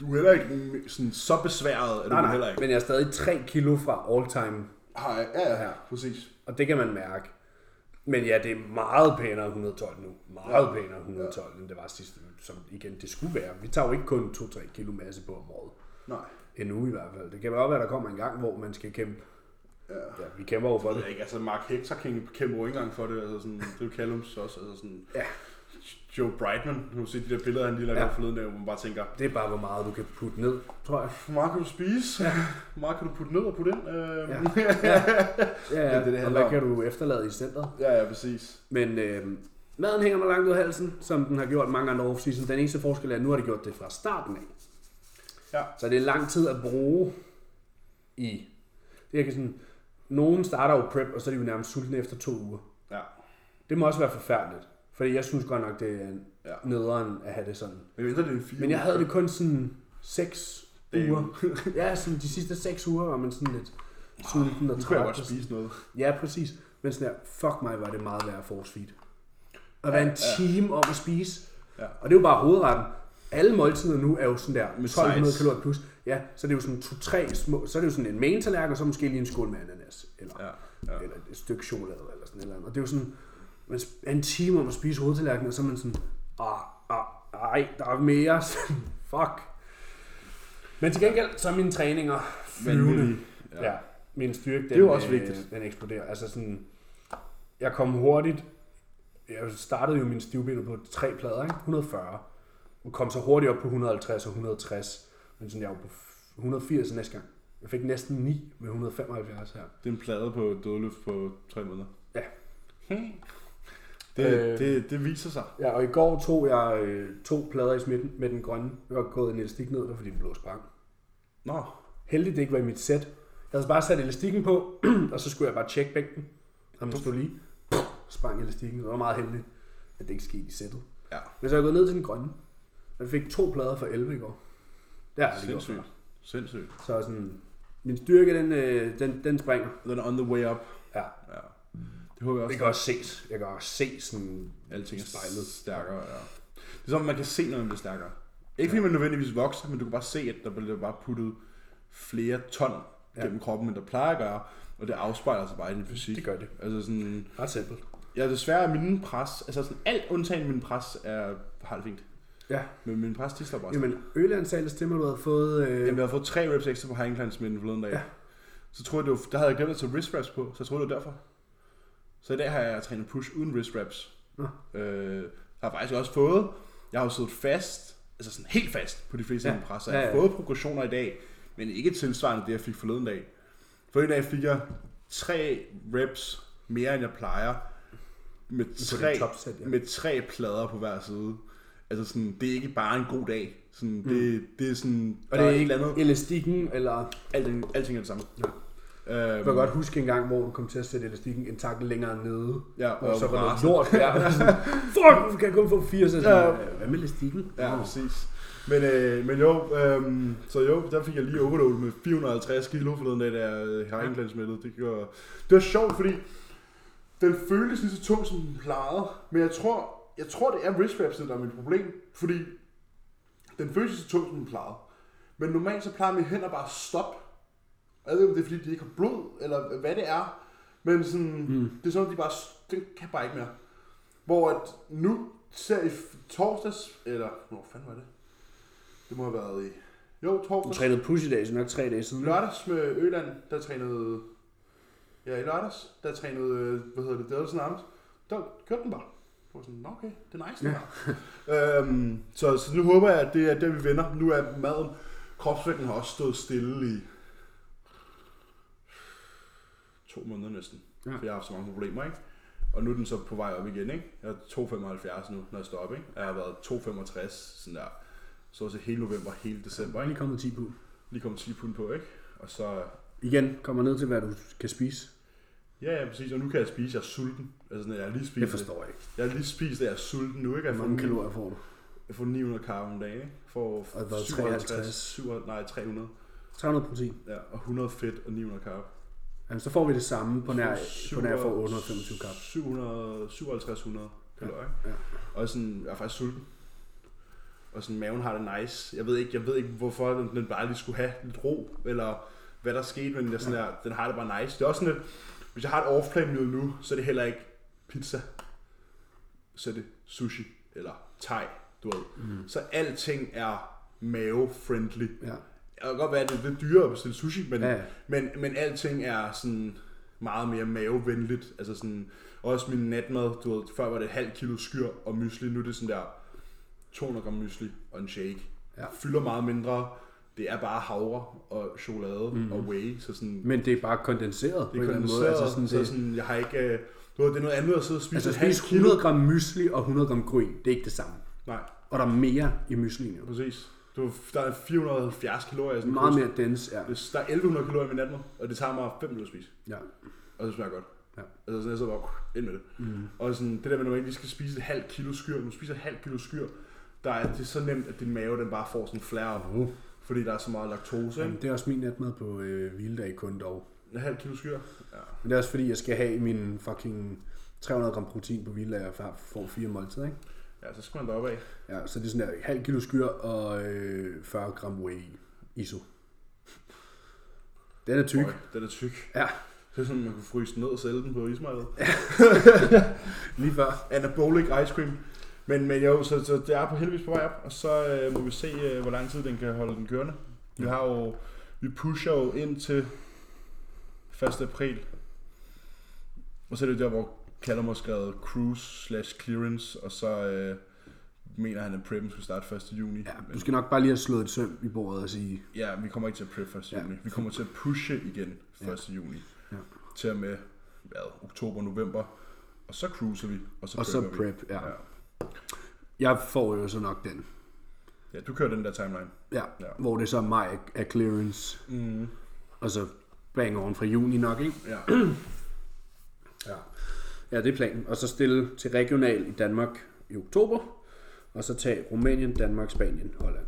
S2: du er heller ikke sådan, så besværet, at du
S1: Nej, nej,
S2: heller ikke.
S1: men jeg er stadig 3 kilo fra all time,
S2: Har jeg- Ja, ja, ja, præcis.
S1: og det kan man mærke. Men ja, det er meget pænere 112 nu. Meget ja. pænere 112, ja. end det var sidste, som igen, det skulle være. Vi tager jo ikke kun 2-3 kilo masse på om året.
S2: Nej.
S1: Endnu i hvert fald. Det kan godt være, der kommer en gang, hvor man skal kæmpe. Ja, vi kæmper jo for
S2: Jeg
S1: det.
S2: ved ikke, altså Mark Hector King kæmper jo ikke engang for det, altså sådan, det er jo Callums også, altså sådan,
S1: Ja.
S2: Joe Brightman, nu se de der billeder, han lige lavede
S1: Ja.
S2: ja. forleden dag, hvor man bare tænker,
S1: Det er bare, hvor meget du kan putte ned, tror jeg.
S2: hvor meget kan du spise? Ja. Hvor meget kan du putte ned og putte ind? Øhm,
S1: Ja.
S2: ja.
S1: Ja,
S2: Det er det, det
S1: og
S2: handler
S1: hvad
S2: om.
S1: kan du efterlade i centret?
S2: ja, ja, præcis.
S1: Men øh, maden hænger mig langt ud af halsen, som den har gjort mange andre off-season. Den eneste forskel er, at nu har de gjort det fra starten af.
S2: Ja.
S1: Så det er lang tid at bruge i... Det er kan sådan, nogen starter jo prep, og så er de jo nærmest sultne efter to uger.
S2: Ja.
S1: Det må også være forfærdeligt, fordi jeg synes godt nok, det er
S2: Ja.
S1: nederen at have det sådan.
S2: Men mindre det er en fire
S1: Men jeg
S2: uger.
S1: havde det kun sådan 6
S2: Damn.
S1: uger. Ja, sådan de sidste 6 uger var man sådan lidt sulten og
S2: Nu kunne
S1: træt.
S2: jeg godt spise noget.
S1: Ja, præcis. Men sådan der, fuck mig, var det meget værd at force feed. At være en time om at spise.
S2: Ja.
S1: Og det er jo bare hovedretten. Alle måltider nu er jo sådan der
S2: Med
S1: 1200
S2: sides.
S1: kalorier plus. Ja, så det er jo sådan to-tre små, så er det jo sådan en main tallerken, og så måske lige en skål med ananas. Eller,
S2: Ja, ja.
S1: eller et stykke chokolade, eller sådan et eller andet. Og det er jo sådan, man sp- er en time om at spise hovedtallerkenen, og så er man sådan, ah, ah, ej, der er mere. Sådan, fuck. Men til gengæld, så er mine træninger
S2: øh,
S1: flyvende.
S2: Vanvittige.
S1: Ja. ja. Min styrke, den,
S2: er jo også
S1: øh,
S2: vigtigt.
S1: den eksploderer. Altså sådan, jeg kom hurtigt, jeg startede jo min stivbenet på tre plader, ikke? 140. Og kom så hurtigt op på 150 og 160. Men sådan, jeg var på 180 næste gang. Jeg fik næsten 9 med 175 her.
S2: Det er en plade på dødløft på tre måneder.
S1: Ja.
S2: Det,
S1: Øh.
S2: øh. det, det viser sig.
S1: Ja, og i går tog jeg øh, to plader i smitten med den grønne. Jeg var gået en elastik ned, der fordi den blå sprang.
S2: Nå,
S1: Heldigt det ikke var i mit sæt. Jeg havde bare sat elastikken på, og så skulle jeg bare tjekke bænken. Og den stod lige. Sprang elastikken. Det var meget heldigt, at det ikke skete i sættet.
S2: ja.
S1: Men så er jeg gået ned til den grønne. Og jeg fik to plader for 11 i går. Det har jeg aldrig gjort før.
S2: Sindssygt. Sindssygt.
S1: Så sådan, min styrke, den, øh, den, den springer.
S2: Den er on the way up.
S1: Ja,
S2: Ja. Det håber jeg også.
S1: det kan også ses. Jeg kan også se sådan...
S2: Alting er
S1: Spejlet.
S2: spejlet stærkere, ja. Det er som, man kan se, når man bliver stærkere. Ikke fordi man nødvendigvis vokser, men du kan bare se, at der bliver bare puttet flere ton
S1: Ja.
S2: gennem kroppen, end der plejer at gøre, og det afspejler sig bare i din fysik.
S1: Det gør det.
S2: Altså sådan,
S1: Ret simpelt.
S2: ja, desværre er mine pres, altså sådan alt undtagen min pres er, har det fint.
S1: Ja.
S2: Men min pres, de slår bare. Jamen,
S1: Jamen, Øland sagde ellers til mig, du havde fået... Øh,
S2: jeg havde fået tre reps ekstra på high incline smitten forleden dag.
S1: Ja.
S2: Så troede jeg, det var, der havde jeg glemt at tage wrist wraps på, så jeg troede, det var derfor. Så i dag har jeg trænet push uden wrist wraps.
S1: Nå.
S2: Øh, har jeg faktisk også fået. Jeg har jo siddet fast, altså sådan helt fast på de fleste
S1: Ja.
S2: ja. pres, så
S1: Ja,
S2: jeg har
S1: ja.
S2: fået progressioner i dag, men ikke tilsvarende det, jeg fik forleden dag. Forleden dag fik jeg tre reps mere, end jeg plejer, med
S1: dit
S2: tre,
S1: topsæt, ja.
S2: med tre plader på hver side. Altså sådan, det er ikke bare en god dag. Sådan, det, det er sådan,
S1: Mm. Og
S2: der
S1: det er
S2: et
S1: ikke
S2: eller andet.
S1: elastikken, eller...
S2: Alting, alting er det samme.
S1: Ja.
S2: Øhm,
S1: Jeg kan godt huske en gang, hvor du kom til at sætte elastikken en tak længere nede.
S2: Ja,
S1: og
S2: og
S1: så var noget
S2: rasen.
S1: lort der. og sådan, Fuck, nu kan jeg kun få 80. Og sådan,
S2: Ja.
S1: "Øh, Hvad med elastikken?
S2: Ja,
S1: Nå.
S2: præcis. Men, øh, men jo, øh, så jo, der fik jeg lige overload med 450 kilo forleden dag, da jeg øh, har England smittet. Det, gjorde, det var sjovt, fordi den føltes lige så tung, som den plejede. Men jeg tror, jeg tror det er wrist wrapsen, der er mit problem, fordi den føles lige så tung, som den plejede. Men normalt så plejer mine hænder bare at stoppe. Og Jeg ved ikke, om det er, fordi de ikke har blod, eller hvad det er. Men sådan, mm. det er sådan, at de bare, den kan bare ikke mere. Hvor at nu ser i f- torsdags, eller hvor fanden var det? Det må have været i, jo
S1: Du
S2: torsdags,
S1: trænede push i dag, så nok tre dage siden.
S2: lørdags med Øland, der trænede, ja i lørdags, der trænede, øh, hvad hedder det, Delsen Arms, der kørte den bare. Jeg var sådan, "Nå, okay, det er nice, det ja. øhm, så, så nu håber jeg, at det er der, vi vender. Nu er maden, kropsvægten har også stået stille i to måneder næsten,
S1: Ja.
S2: ja. fordi jeg har haft så mange problemer, ikke? Og nu er den så på vej op igen, ikke? Jeg er 2,75 nu, når jeg står op, ikke? Jeg har været 2,65, sådan der. Så også hele november, hele december,
S1: Bare
S2: ikke?
S1: lige kommet 10 pund.
S2: Lige kom 10 pund på, ikke? Og så
S1: Igen, kommer ned til, hvad du kan spise.
S2: Ja, ja, præcis. Og nu kan jeg spise. Jeg er sulten. Altså, sådan, jeg har lige spist
S1: Det forstår jeg ikke.
S2: Jeg har lige spist, at jeg er sulten nu, ikke? Jeg
S1: Hvor
S2: får,
S1: mange
S2: ni-
S1: kalorier får du?
S2: jeg får 900 karb om dagen, ikke? For
S1: Og hvad,
S2: 57,
S1: 53?
S2: 700, nej, 300.
S1: 300 protein.
S2: Ja, og 100 fedt og 900 karb.
S1: Jamen, så får vi det samme på nær,
S2: Så
S1: på nær for
S2: 700
S1: 825 kap.
S2: 700, 5700 kalorier, ikke?
S1: ja.
S2: Og sådan, jeg er faktisk sulten. Og sådan, maven har det nice. Jeg ved ikke, jeg ved ikke hvorfor den, den bare lige skulle have lidt ro, eller hvad der skete, men jeg, er sådan der, den har det bare nice. Det er også sådan lidt, hvis jeg har et off menu nu, så er det heller ikke pizza. Så er det sushi, eller thai, du ved. Mm. Så alting er mave-friendly.
S1: Ja.
S2: Det kan godt være, at det er lidt dyrere at bestille sushi, men,
S1: Ja.
S2: ja. men, men alting er sådan meget mere mavevenligt. Altså sådan, også min natmad, du ved, før var det et halvt kilo skyr og mysli, nu er det sådan der 200 gram mysli og en shake.
S1: Ja.
S2: Fylder meget mindre, det er bare havre og chokolade mm. og whey, så sådan,
S1: Men det er bare kondenseret på
S2: det
S1: en Mhm.
S2: er
S1: eller anden
S2: kondenseret,
S1: måde. Altså sådan,
S2: så
S1: det,
S2: sådan, jeg har ikke, øh, du ved, det er noget andet at sidde og spise
S1: altså
S2: et
S1: spise
S2: halvt kilo.
S1: 100 gram mysli og 100 gram gryn, det er ikke det samme.
S2: Nej,
S1: Og der er mere i myslien jo.
S2: præcis. Du, der er 470 kalorier i sådan en
S1: Meget
S2: kost.
S1: mere dense, ja.
S2: Hvis der er 1100 kalorier i min natmad, og det tager mig 5 minutter at spise.
S1: ja.
S2: Og så smager det godt.
S1: Ja.
S2: Altså sådan, jeg sidder bare uh, ind med det. Mm. Og sådan, det der med, når man ikke lige skal spise et halvt kilo skyr, når du spiser et halvt kilo skyr, der er, det er så nemt, at din mave den bare får sådan en flare op,
S1: Uh.
S2: fordi der er så meget laktose.
S1: Jamen,
S2: Ikke?
S1: det er også min natmad på øh, hviledag kun dog.
S2: Et halvt kilo skyr. Ja.
S1: Men det er også fordi, jeg skal have min fucking 300 gram protein på hviledag, og fa- får fire måltider, ikke?
S2: ja, så skal man deroppe af.
S1: Ja, så det er sådan der, halv kilo skyr og øh, 40 gram whey iso. Den er tyk.
S2: Øj, den er tyk.
S1: Ja,
S2: Det er sådan, man kunne fryse den ned og sælge den på ismejlet.
S1: lige før.
S2: Anabolic ice cream. Men, men jo, så, så det er på heldigvis på vej op, og så øh, må vi se, øh, hvor lang tid den kan holde den kørende. Vi har jo, vi pusher jo ind til 1. april. Og så er det jo der, hvor Callum har skrevet cruise slash clearance, og så øh, mener han, at preppen skal starte 1. juni.
S1: Ja, du
S2: men,
S1: skal nok bare lige have slået et søm i bordet og sige,
S2: ja vi kommer ikke til at prep 1.
S1: Ja.
S2: juni. Vi kommer til at pushe igen 1. juni.
S1: Ja.
S2: Til og med, hvad, oktober, november. Og så cruiser vi, og så
S1: og så
S2: prepper vi.
S1: prep. Ja.
S2: Ja.
S1: Jeg får jo så nok den.
S2: ja, du kører den der timeline.
S1: Ja,
S2: Ja.
S1: hvor det så er maj er clearance,
S2: Mm.
S1: og så bang oven fra juni nok, ikke?
S2: Ja.
S1: Ja. ja, det er planen. Og så stille til regional i Danmark i oktober, og så tage Rumænien, Danmark, Spanien, Holland.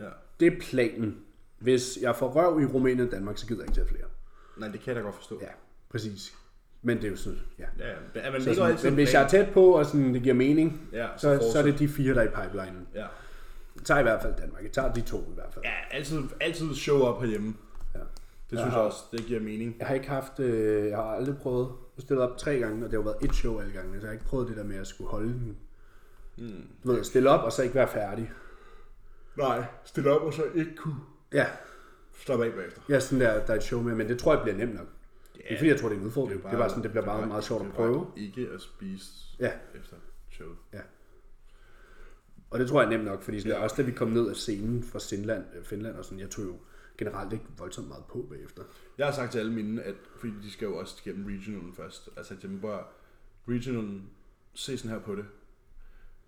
S2: ja.
S1: Det er planen. Hvis jeg får røv i Rumænien og Danmark, så gider jeg ikke tage flere.
S2: Nej, det kan jeg da godt forstå.
S1: Ja, præcis. Men det er jo sådan, ja.
S2: ja, ja. Men, man
S1: Så
S2: ligger
S1: sådan,
S2: altid
S1: men hvis jeg er tæt på, og sådan, det giver mening,
S2: Ja,
S1: så,
S2: så
S1: så er
S2: fortsæt.
S1: det de fire, der er i pipelinen.
S2: Ja.
S1: Jeg tager i hvert fald Danmark. Jeg tager de to i hvert fald.
S2: ja, altid, altid show up herhjemme.
S1: Ja.
S2: Det synes jeg også, det giver mening.
S1: Jeg har ikke haft, øh, jeg har aldrig prøvet, jeg stillede op tre gange, og det har jo været et show alle gange, så jeg har ikke prøvet det der med, at jeg skulle holde den. Mm. Du ved, stille op, og så ikke være færdig.
S2: Nej, stille op og så ikke kunne
S1: Ja,
S2: slappe af bagefter.
S1: jeg er sådan der, der er et show med, men det tror jeg bliver nemt nok. Yeah. Det er fordi, jeg tror, det er en udfordring. Det,
S2: er
S1: bare, det er bare sådan, det bliver bare meget sjovt at prøve.
S2: Ikke at spise
S1: Ja.
S2: efter showet.
S1: Ja. Og det tror jeg er nemt nok, fordi sådan, også da vi kom ned af scenen fra Finland, øh, Finland og sådan, jeg tog jo generelt ikke voldsomt meget på bagefter.
S2: Jeg har sagt til alle mine, at fordi de skal jo også igennem regionalen først. Altså at dem bare, regionalen, se sådan her på det.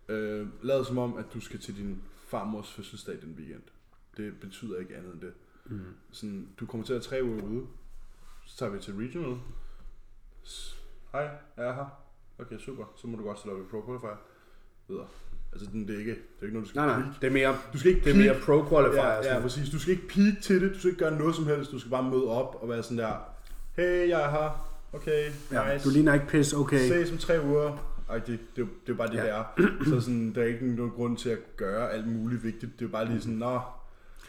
S2: Øh, lad som om, at du skal til din farmors fødselsdag den weekend. Det betyder ikke andet end det. Mm. Sådan, du kommer til at have tre uger ude. Så tager vi til regional. S- Hej, jeg er her. Okay, super. Så må du godt stille op i Pro Qualifier. Videre. Altså, den- det er ikke, det er ikke noget, du skal
S1: Nej, nej,
S2: peak.
S1: det er mere,
S2: Du skal ikke
S1: det er
S2: peak.
S1: mere pro qualifier.
S2: Ja, ja, præcis. Du skal ikke peak til det, du skal ikke gøre noget som helst, du skal bare møde op og være sådan der, hey, jeg er her, okay,
S1: ja,
S2: nice,
S1: du ligner ikke pis, okay.
S2: ses om tre uger. Ej, det, det, er jo- det er jo bare det,
S1: Ja.
S2: ja. der er. Så sådan, der er ikke nogen grund til at gøre alt muligt vigtigt, det er jo bare lige sådan, nå, jeg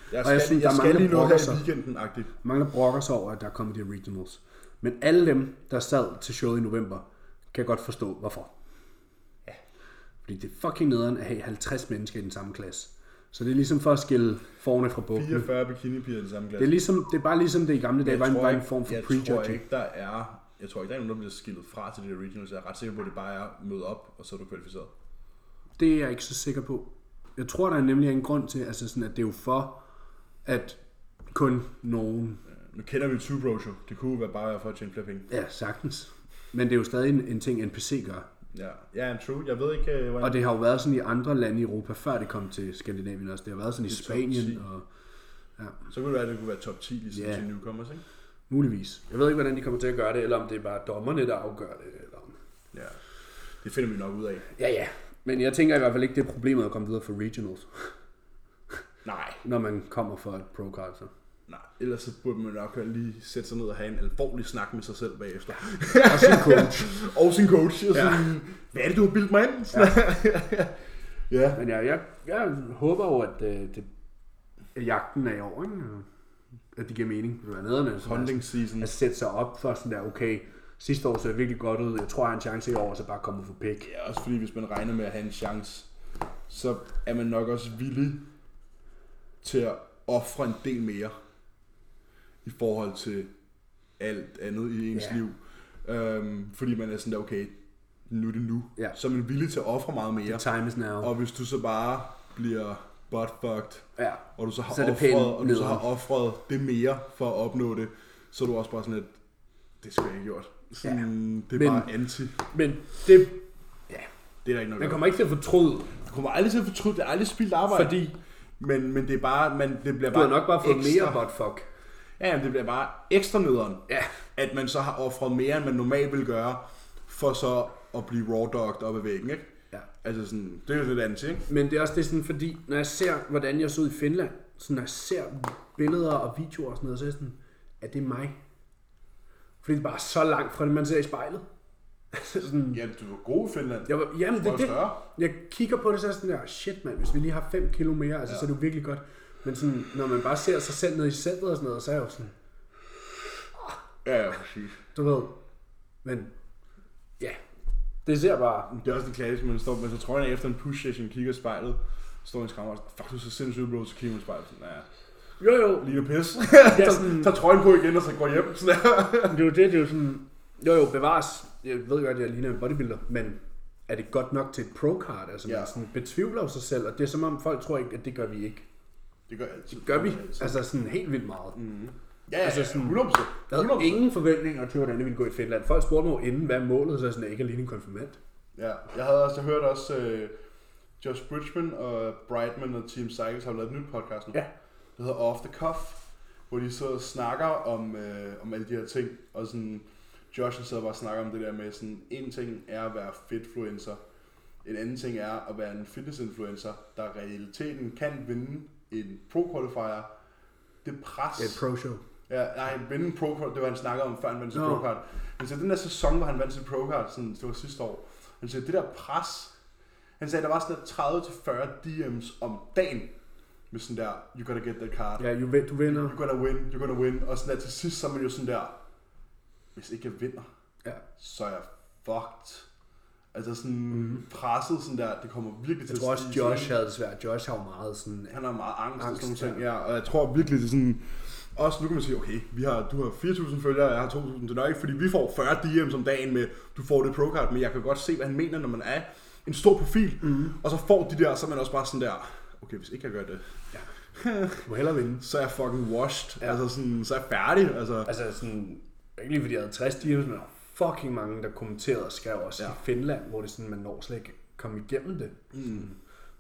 S2: skal,
S1: jeg
S2: jeg
S1: synes, der
S2: jeg
S1: er
S2: skal
S1: mange,
S2: lige
S1: der
S2: noget
S1: brokker
S2: her
S1: sig.
S2: i weekenden-agtigt.
S1: Mange der brokker sig over, at der er kommet de originals. Men alle dem, der sad til showet i november, kan godt forstå, hvorfor. Ja. Fordi det er fucking nederen at have 50 mennesker i den samme klasse. Så det er ligesom for at skille forne fra bukken.
S2: 44 bikinipiger i den samme
S1: Det
S2: klasse.
S1: er, ligesom, det er bare ligesom det i gamle dage var en,
S2: tror
S1: var en
S2: ikke-
S1: form for
S2: jeg tror
S1: prejudging.
S2: ikke, der er, jeg tror ikke, der er nogen, der bliver skilt fra til det original, så jeg er ret sikker på, at det bare er at møde op, og så er du kvalificeret.
S1: Det er jeg ikke så sikker på. Jeg tror, der er nemlig en grund til, altså sådan, at det er jo for, at kun nogen...
S2: Nu kender vi Two Bro Show. Det kunne jo være bare være for at tjene flere penge.
S1: Ja, sagtens. Men det er jo stadig en, en ting, NPC gør.
S2: Ja, ja true. Jeg ved ikke, øh, hvordan...
S1: Og det har jo været sådan i andre lande i Europa, før det kom til Skandinavien også. Det har været sådan i
S2: Det er top ti.
S1: Spanien og
S2: Så kunne det være, at det kunne være top 10 ligesom
S1: Ja.
S2: yeah. til newcomers, ikke?
S1: muligvis. Jeg ved ikke, hvordan de kommer til at gøre det, eller om det er bare dommerne, der afgør det. Eller om...
S2: Ja. Det finder vi nok ud af.
S1: Ja, ja. Men jeg tænker i hvert fald ikke, det er problemet at komme videre for regionals,
S2: Nej.
S1: når man kommer for et pro card. Så.
S2: Nej. Ellers så burde man nok lige sætte sig ned og have en alvorlig snak med sig selv bagefter.
S1: Og sin coach.
S2: og sin coach. Og
S1: Ja.
S2: sådan, hvad er det, du har bildt mig ind? Ja. ja.
S1: Men jeg, jeg, jeg håber jo, at, øh, det, at jagten er i år, ikke? Og at det giver mening. Det var nederne, sådan,
S2: Hunting season.
S1: at, at sætte sig op for sådan der, okay, sidste år så jeg virkelig godt ud, jeg tror, jeg har en chance i år, og så bare komme for pæk.
S2: Ja, også fordi hvis man regner med at have en chance, så er man nok også villig til at ofre en del mere i forhold til alt andet i ens
S1: Ja.
S2: ja. liv. Øhm, fordi man er sådan der, okay, nu er det nu.
S1: Ja.
S2: Så er man villig til at ofre meget mere.
S1: Time is now.
S2: Og hvis du så bare bliver buttfucked,
S1: Ja.
S2: og du så har,
S1: Så er det pænt
S2: offret, og du så har
S1: nederen.
S2: offret det mere for at opnå det, så er du også bare sådan lidt, det skal jeg ikke gjort. Sådan, Det er
S1: Men-
S2: bare anti.
S1: Men det, ja,
S2: Det er der ikke noget
S1: man
S2: at gøre.
S1: kommer ikke til at fortryde,
S2: Du kommer aldrig til at fortryde, det er aldrig spildt arbejde.
S1: fordi
S2: Men, men det er bare, man, det bliver
S1: du
S2: bare
S1: har nok bare fået
S2: ekstra,
S1: mere buttfuck.
S2: Ja, jamen, det bliver bare ekstra nederen,
S1: Ja.
S2: at man så har offret mere, end man normalt ville gøre, for så at blive raw dogged op ad væggen, ikke?
S1: ja.
S2: Altså sådan, det er jo lidt andet, ikke?
S1: Men det er også det er sådan, fordi når jeg ser, hvordan jeg så ud i Finland, så når jeg ser billeder og videoer og sådan noget, så er jeg sådan, at det er mig. Fordi det er bare så langt fra det, man ser i spejlet. Altså sådan,
S2: Ja, du var god i Finland.
S1: jeg var, jamen, det,
S2: Hvor
S1: er det,
S2: større?
S1: jeg kigger på det, så er jeg sådan der, shit mand, hvis vi lige har 5 kilo mere, altså, ja. så er det jo virkelig godt. Men sådan, når man bare ser sig selv nede i centret og sådan noget, så er jeg jo sådan,
S2: Ja, ja, præcis.
S1: du ved, men ja, det ser bare,
S2: Det er også en klassisk, man står med så trøjen af efter en push session, kigger i spejlet, står i en skræmmer og sådan, fuck, du er så sindssygt blå, så kigger man i spejlet sådan, ja,
S1: jo jo,
S2: lige pis.
S1: Ja,
S2: tager,
S1: sådan-
S2: tager trøjen på igen, og så går hjem. Sådan der.
S1: Men det er jo det, det er jo sådan, jo jo, bevares, jeg ved godt, at jeg ligner en bodybuilder, men er det godt nok til et pro-card? Altså, ja.
S2: Ja.
S1: man sådan betvivler jo sig selv, og det er som om folk tror ikke, at det gør vi ikke.
S2: Det gør jeg altid.
S1: Gør vi? Altså sådan helt vildt meget. Mm.
S2: Ja, ja,
S1: altså
S2: altså
S1: sådan-
S2: sådan, 100%.
S1: Jeg havde ingen forventninger til, hvordan det ville gå i Finland. Folk spurgte mig jo inden, hvad er målet, så er jeg sådan, at jeg ikke er lignende konfirmant.
S2: Ja, jeg havde også hørt også øh, Josh Bridgman og Brightman og Team Cycles har lavet et nyt podcast nu.
S1: Ja.
S2: Det hedder Off the Cuff, hvor de sidder og snakker om, øh, om alle de her ting. Og sådan, Josh han sidder bare og snakker om det der med, sådan, en ting er at være fitfluencer. En anden ting er at være en fitnessinfluencer, der i realiteten kan vinde en pro-qualifier. Det pres...
S1: Ja, et pro-show.
S2: Ja, nej, vinde en pro card, det var han snakkede om, før han vandt sit
S1: Nå.
S2: pro card. Han sagde, den der sæson, hvor han vandt sit pro card, sådan, det var sidste år. Han sagde, det der pres, han sagde, der var sådan der 30-40 DM's om dagen, med sådan der, you gotta get that card,
S1: Ja, jo, ved- du vinder.
S2: you gotta win, you gotta win, og sådan der til sidst, så er man jo sådan der, hvis ikke jeg vinder,
S1: Ja.
S2: så er jeg fucked. Altså sådan mm. presset sådan der, det kommer virkelig
S1: Mhm.
S2: til
S1: Jeg tror også,
S2: stige.
S1: Josh havde det svært. Josh har jo meget sådan...
S2: Han har meget angst, angst og
S1: Angst,
S2: sådan nogle ting. Ja. og jeg tror virkelig, det er sådan... Også nu kan man sige, okay, vi har, du har 4.000 følgere, og jeg har 2.000. Det er nok ikke, fordi vi får 40 DM's om dagen med, du får det procard, men jeg kan godt se, hvad han mener, når man er en stor profil.
S1: Mhm.
S2: Mm. Og så får de der, så er man også bare sådan der, okay, hvis ikke jeg gør det,
S1: Du må hellere vinde.
S2: så er jeg fucking washed. Ja. Altså sådan, så er jeg færdig. Altså,
S1: Altså sådan, ikke lige fordi jeg havde 60 timer, men der var fucking mange, der kommenterede og skrev også ja.
S2: Ja.
S1: i Finland, hvor det er sådan, man når slet ikke at komme igennem det. Mm.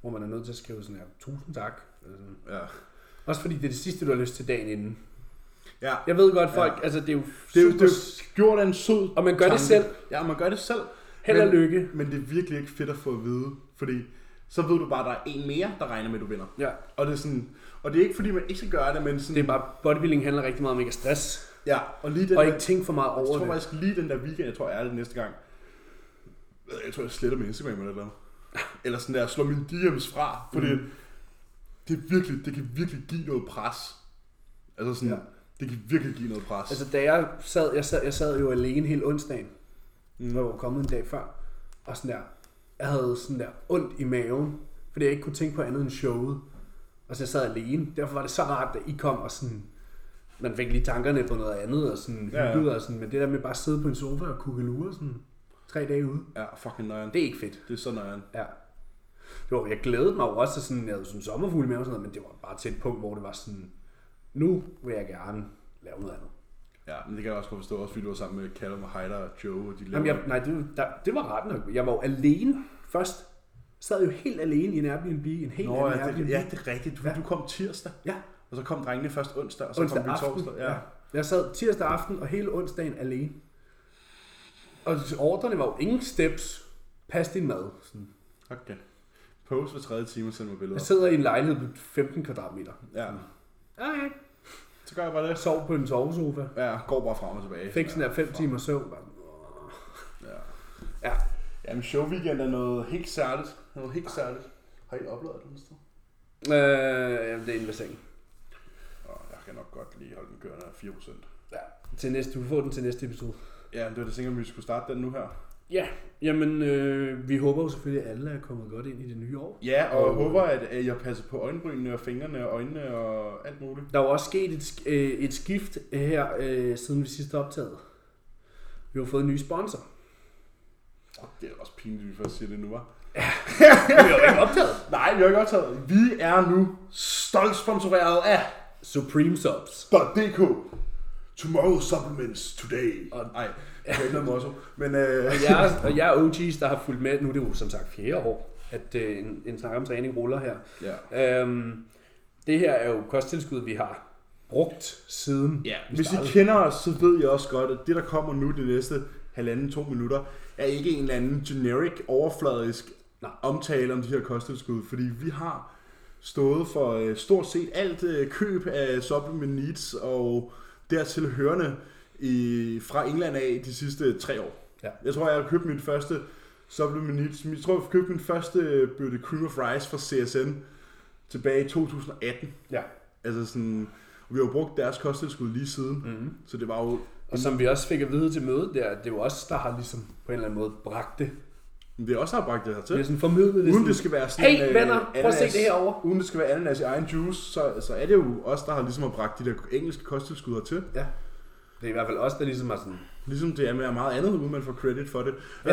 S1: Hvor man er nødt til at skrive sådan her, tusind tak. Eller sådan.
S2: ja.
S1: Også fordi det er det sidste, du har lyst til dagen inden.
S2: ja.
S1: Jeg ved godt, folk, ja. altså det er jo
S2: Det er, jo,
S1: super,
S2: det er jo gjort af en sød
S1: Og man gør det
S2: tanke.
S1: selv.
S2: Ja, man gør det selv.
S1: Held og
S2: Men-
S1: lykke.
S2: Men det er virkelig ikke fedt at få at vide, fordi så ved du bare, at der er en mere, der regner med, at du vinder.
S1: Ja.
S2: Og det er sådan, og det er ikke fordi, man ikke skal gøre det, men sådan,
S1: Det er bare, bodybuilding handler rigtig meget om ikke at stress,
S2: ja, og lige den
S1: og
S2: der,
S1: ikke tænke for meget
S2: Altså, jeg
S1: over
S2: tror
S1: det.
S2: faktisk lige den der weekend, jeg tror, jeg er det næste gang. Jeg tror, jeg sletter min Instagram eller noget. Eller sådan der, slår mine DM's fra, fordi mm. det, er virkelig, det kan virkelig give noget pres. Altså sådan,
S1: Ja.
S2: ja. det kan virkelig give noget pres.
S1: Altså da jeg sad, jeg sad, jeg sad jo alene hele onsdagen, mm. og var kommet en dag før, og sådan der, jeg havde sådan der ondt i maven, fordi jeg ikke kunne tænke på andet end showet. Og så jeg sad alene, derfor var det så rart, at I kom og sådan, man fik lige tankerne på noget andet, og sådan
S2: Ja, ja.
S1: hyggede, og sådan, men det der med bare at sidde på en sofa og kugle lure sådan tre dage ude,
S2: ja, fucking nøjeren.
S1: det
S2: Det,
S1: er ikke fedt.
S2: det er så nøjeren.
S1: Ja. Jo, jeg glædede mig jo også til sådan, jeg havde sådan sommerfugle med og sådan noget, men det var bare til et punkt, hvor det var sådan, nu vil jeg gerne lave noget andet.
S2: Ja, men det kan jeg også godt forstå, også fordi du var sammen med Callum og Heider og Joe, og de
S1: Jamen, jeg, nej, det, var- der, det var ret nok. Jeg var jo alene først. Sad jo helt alene i en Airbnb, en helt
S2: Nå,
S1: anden
S2: ja,
S1: Airbnb.
S2: det, ja, det er rigtigt. Du,
S1: Ja.
S2: ja. du kom tirsdag,
S1: ja.
S2: og så kom drengene først onsdag, og så
S1: onsdag
S2: kom vi
S1: aften.
S2: torsdag. Ja.
S1: Jeg sad tirsdag aften og hele onsdagen alene. Og ordrene var jo ingen steps. Pas din mad. Sådan.
S2: Okay. Post hver tredje time og send mig
S1: Jeg
S2: billeder.
S1: sidder i en lejlighed på 15 kvadratmeter.
S2: Ja.
S1: Okay.
S2: Mm. Så gør jeg bare det.
S1: Jeg sov på en sovesofa.
S2: Ja, går bare frem og tilbage.
S1: Fik sådan
S2: ja.
S1: der 5 timer søvn. Bare,
S2: Ja.
S1: Ja.
S2: Jamen, showweekend er noget helt særligt. Noget helt særligt. Har I oplevet det, Mr.?
S1: Øh, jamen, det er en ved sengen.
S2: Åh, Jeg kan nok godt lige holde den kørende af 4%.
S1: Ja. Til næste, du får den til næste episode.
S2: Ja, det var det sikkert, vi skulle starte den nu her.
S1: Ja, jamen, øh, vi håber jo selvfølgelig, at alle er kommet godt ind i det nye år.
S2: Ja, og jeg
S1: Og-
S2: håber, at at jeg passer på øjenbrynene og fingrene og øjnene og alt muligt.
S1: Der er jo også sket et, sk- øh, et skift her, øh, siden vi sidst optagede. Vi har fået en ny sponsor.
S2: Det er også pinligt, at vi først siger det nu, var.
S1: Vi har jo ikke optaget.
S2: Nej, vi har ikke optaget. Vi er nu stolt sponsoreret af
S1: Supreme Subs.
S2: .dk. Tomorrow supplements today. Og nej, det er ikke noget motto. Men øh,
S1: Og jeg, og jeg er OG's, der har fulgt med, nu er det jo som sagt fjerde år, at øh, en, en snak om træning ruller her.
S2: ja.
S1: Øhm, det her er jo kosttilskud, vi har brugt siden
S2: Ja,
S1: vi
S2: hvis I
S1: startede.
S2: kender os, så ved jeg også godt, at det, der kommer nu de næste halvanden, to minutter, er ikke en eller anden generic, overfladisk
S1: Nej.
S2: omtale om de her kosttilskud, fordi vi har stået for øh, stort set alt øh, køb af supplement needs og dertil hørende i, fra England af de sidste tre år.
S1: Ja.
S2: Jeg tror, jeg har købt mit første supplement needs. Jeg tror, jeg købte min første øh, bøtte cream of rice fra CSN tilbage i 2018.
S1: Ja.
S2: Altså sådan, vi har jo brugt deres kosttilskud lige siden,
S1: Mhm.
S2: mm-hmm. så det var jo,
S1: Og som vi også fik at vide til mødet der, det er jo os, der har ligesom på en eller anden måde bragt det.
S2: men det er også har bragt det her
S1: Vi har
S2: til.
S1: sådan formidlet det.
S2: Uden det
S1: sådan,
S2: skal være sådan,
S1: hey
S2: øh,
S1: venner, prøv at se
S2: ananas-
S1: det herovre.
S2: Uden det skal være ananas i egen juice, så, så er det jo os, der har ligesom har bragt de der engelske kosttilskud her til.
S1: Ja. Det er i hvert fald os, der ligesom har sådan,
S2: Ligesom det er med meget andet, uden man får credit for det. Øh,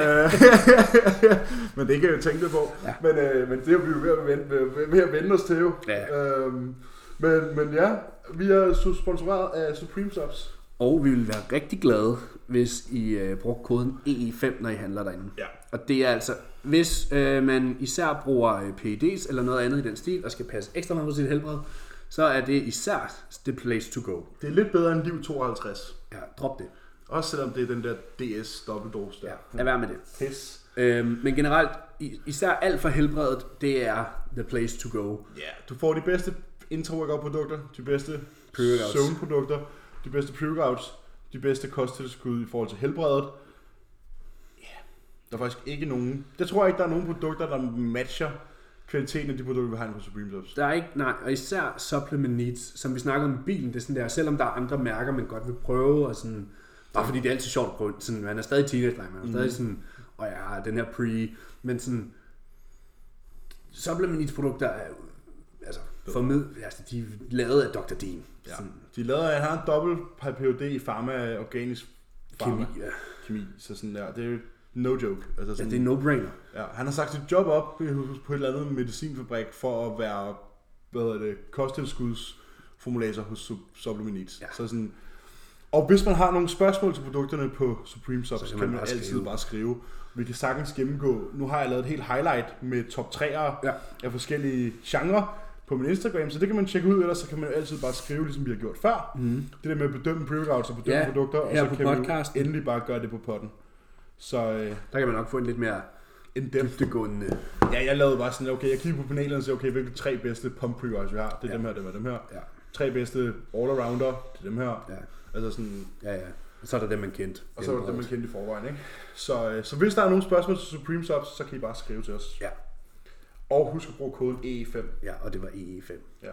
S2: men det kan jeg jo tænke det på.
S1: Ja.
S2: Men, øh, men det er vi jo ved at vende, ved, ved at vende os til jo.
S1: Ja.
S2: Øhm, men, men ja, vi er su- sponsoreret af Supreme Subs.
S1: Og vi vil være rigtig glade, hvis I øh, bruger koden EE5, når I handler derinde.
S2: Ja.
S1: Og det er altså, hvis øh, man især bruger øh, PEDs eller noget andet i den stil, og skal passe ekstra meget på sit helbred, så er det især the place to go.
S2: Det er lidt bedre end Liv 52.
S1: Ja, drop det.
S2: Også selvom det er den der DS dobbeltdose der.
S1: Ja, lad være med det.
S2: Pis.
S1: Øhm, men generelt, i- især alt for helbredet, det er the place to go.
S2: Ja, du får de bedste intra-workout-produkter, de bedste
S1: Pre-workouts.
S2: søvnprodukter, de bedste pre-workouts, de bedste kosttilskud i forhold til helbredet. Ja, der er faktisk ikke nogen... Der tror jeg ikke, der er nogen produkter, der matcher kvaliteten af de produkter, vi har inde på Supreme Subs.
S1: Der er ikke, nej, og især supplement needs, som vi snakker om i bilen, det er sådan der, selvom der er andre mærker, man godt vil prøve, og sådan, bare fordi det er altid sjovt at prøve, sådan, man er stadig teenage man
S2: Mm.
S1: er stadig sådan, og ja, den her pre, men sådan, supplement needs produkter er jo, altså, formid, altså, de er lavet af Dr. Dean.
S2: Ja.
S1: Sådan,
S2: De lader, jeg har en dobbelt PhD i pharma, organisk pharma.
S1: kemi, ja.
S2: Kemi. Så sådan der, det er jo no joke. Altså
S1: ja,
S2: sådan,
S1: det er no-brainer.
S2: Ja, han har sagt sit job op på på et eller andet medicinfabrik for at være, hvad hedder det, kosttilskudsformulator hos Sup- Supplement Needs.
S1: Ja.
S2: Ja. Så sådan, og hvis man har nogle spørgsmål til produkterne på Supreme Subs,
S1: kan
S2: så kan
S1: man
S2: man, man
S1: bare
S2: altid
S1: skrive.
S2: skrive. bare skrive. Vi kan sagtens gennemgå. Nu har jeg lavet et helt highlight med top 3'ere
S1: Ja.
S2: ja. af forskellige genrer på min Instagram, så det kan man tjekke ud, ellers så kan man jo altid bare skrive, ligesom vi har gjort før. Mm. Det der med at bedømme pre-workouts og bedømme
S1: Mhm. Ja,
S2: ja, produkter, og
S1: her
S2: så
S1: på
S2: kan vi
S1: podcasten.
S2: jo endelig bare gøre det på potten. Så øh,
S1: Der kan man nok få en lidt mere
S2: en dem.
S1: dybtegående,
S2: Ja, jeg lavede bare sådan, okay, jeg kiggede på panelerne og sagde, okay, hvilke tre bedste pump pre vi har? Det er
S1: Ja.
S2: ja. dem her, dem her, dem her.
S1: ja,
S2: Tre bedste all-arounder, det er dem her. Ja.
S1: ja,
S2: Altså sådan,
S1: ja, ja. Og så er der dem, man kendte.
S2: og så var det dem, man kendte i forvejen, ikke? Så, øh, så hvis der er nogle spørgsmål til Supreme Subs, så kan I bare skrive til os.
S1: Ja,
S2: Og husk at bruge koden E5.
S1: ja, og det var E EE5.
S2: Ja.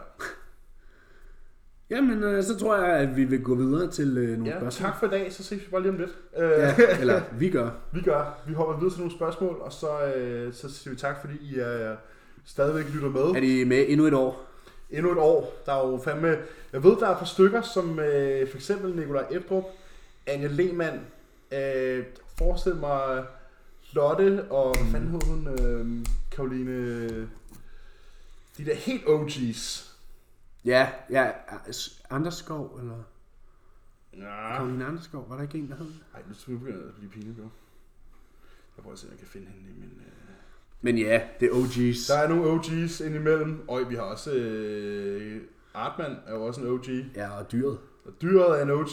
S1: Jamen, øh, så tror jeg, at vi vil gå videre til øh, nogle
S2: ja,
S1: spørgsmål.
S2: tak for i dag, så ses vi bare lige om lidt. Øh,
S1: Ja, eller vi gør.
S2: Vi gør. Vi hopper videre til nogle spørgsmål, og så, øh, så siger vi tak, fordi I øh, stadigvæk lytter med.
S1: Er de med endnu et år?
S2: endnu et år. Der er jo fandme... Jeg ved, der er et par stykker, som øh, for eksempel Nikolaj Ebdrup, Anja Lehmann, øh, forestil mig Lotte og hvad fanden hed hun? Øh, Karoline... De der helt OG's.
S1: Ja, ja. Anders Skov, eller?
S2: Ja.
S1: Karoline Andersgaard, var der ikke en, der hed det?
S2: Ej, nu skal vi begynde at blive pinligt, jo. Jeg prøver at se, om jeg kan finde hende i min... Øh...
S1: Men ja, det er OG's.
S2: Der er nogle OG's indimellem. Og vi har også... Øh... Artman er jo også en OG.
S1: Ja, og dyret.
S2: Og dyret er en OG.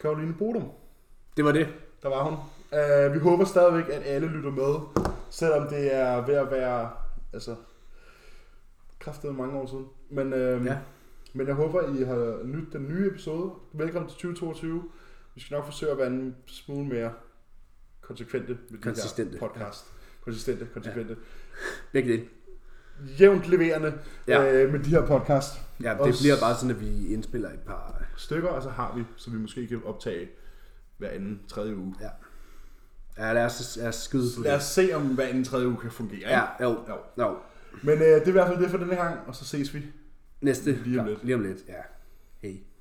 S2: Karoline Bodum.
S1: Det var det.
S2: Der var hun. Uh, vi håber stadigvæk, at alle lytter med, selvom det er ved at være, altså, kraftet mange år siden. Men, uh,
S1: Ja.
S2: ja. men jeg håber, I har nydt den nye episode. Velkommen til 2022. Vi skal nok forsøge at være en smule mere konsekvente med den
S1: Konsistente.
S2: her podcast. Konsistente, konsekvente.
S1: Begge det.
S2: Jævnt leverende
S1: Ja.
S2: ja. uh, med de her podcast
S1: Ja, det
S2: Også-
S1: bliver bare sådan, at vi indspiller et par...
S2: stykker, og så har vi, så vi måske kan optage hver anden, tredje uge.
S1: Ja. Ja, lad os, lad os skyde på
S2: Lad os
S1: det.
S2: se, om hver anden, tredje uge kan fungere. ikke?
S1: Ja, jo,
S2: Jo.
S1: jo.
S2: Men øh, det er i hvert fald det for denne gang, og så ses vi.
S1: Næste.
S2: Lige om lidt.
S1: Lige om lidt, ja. Hej.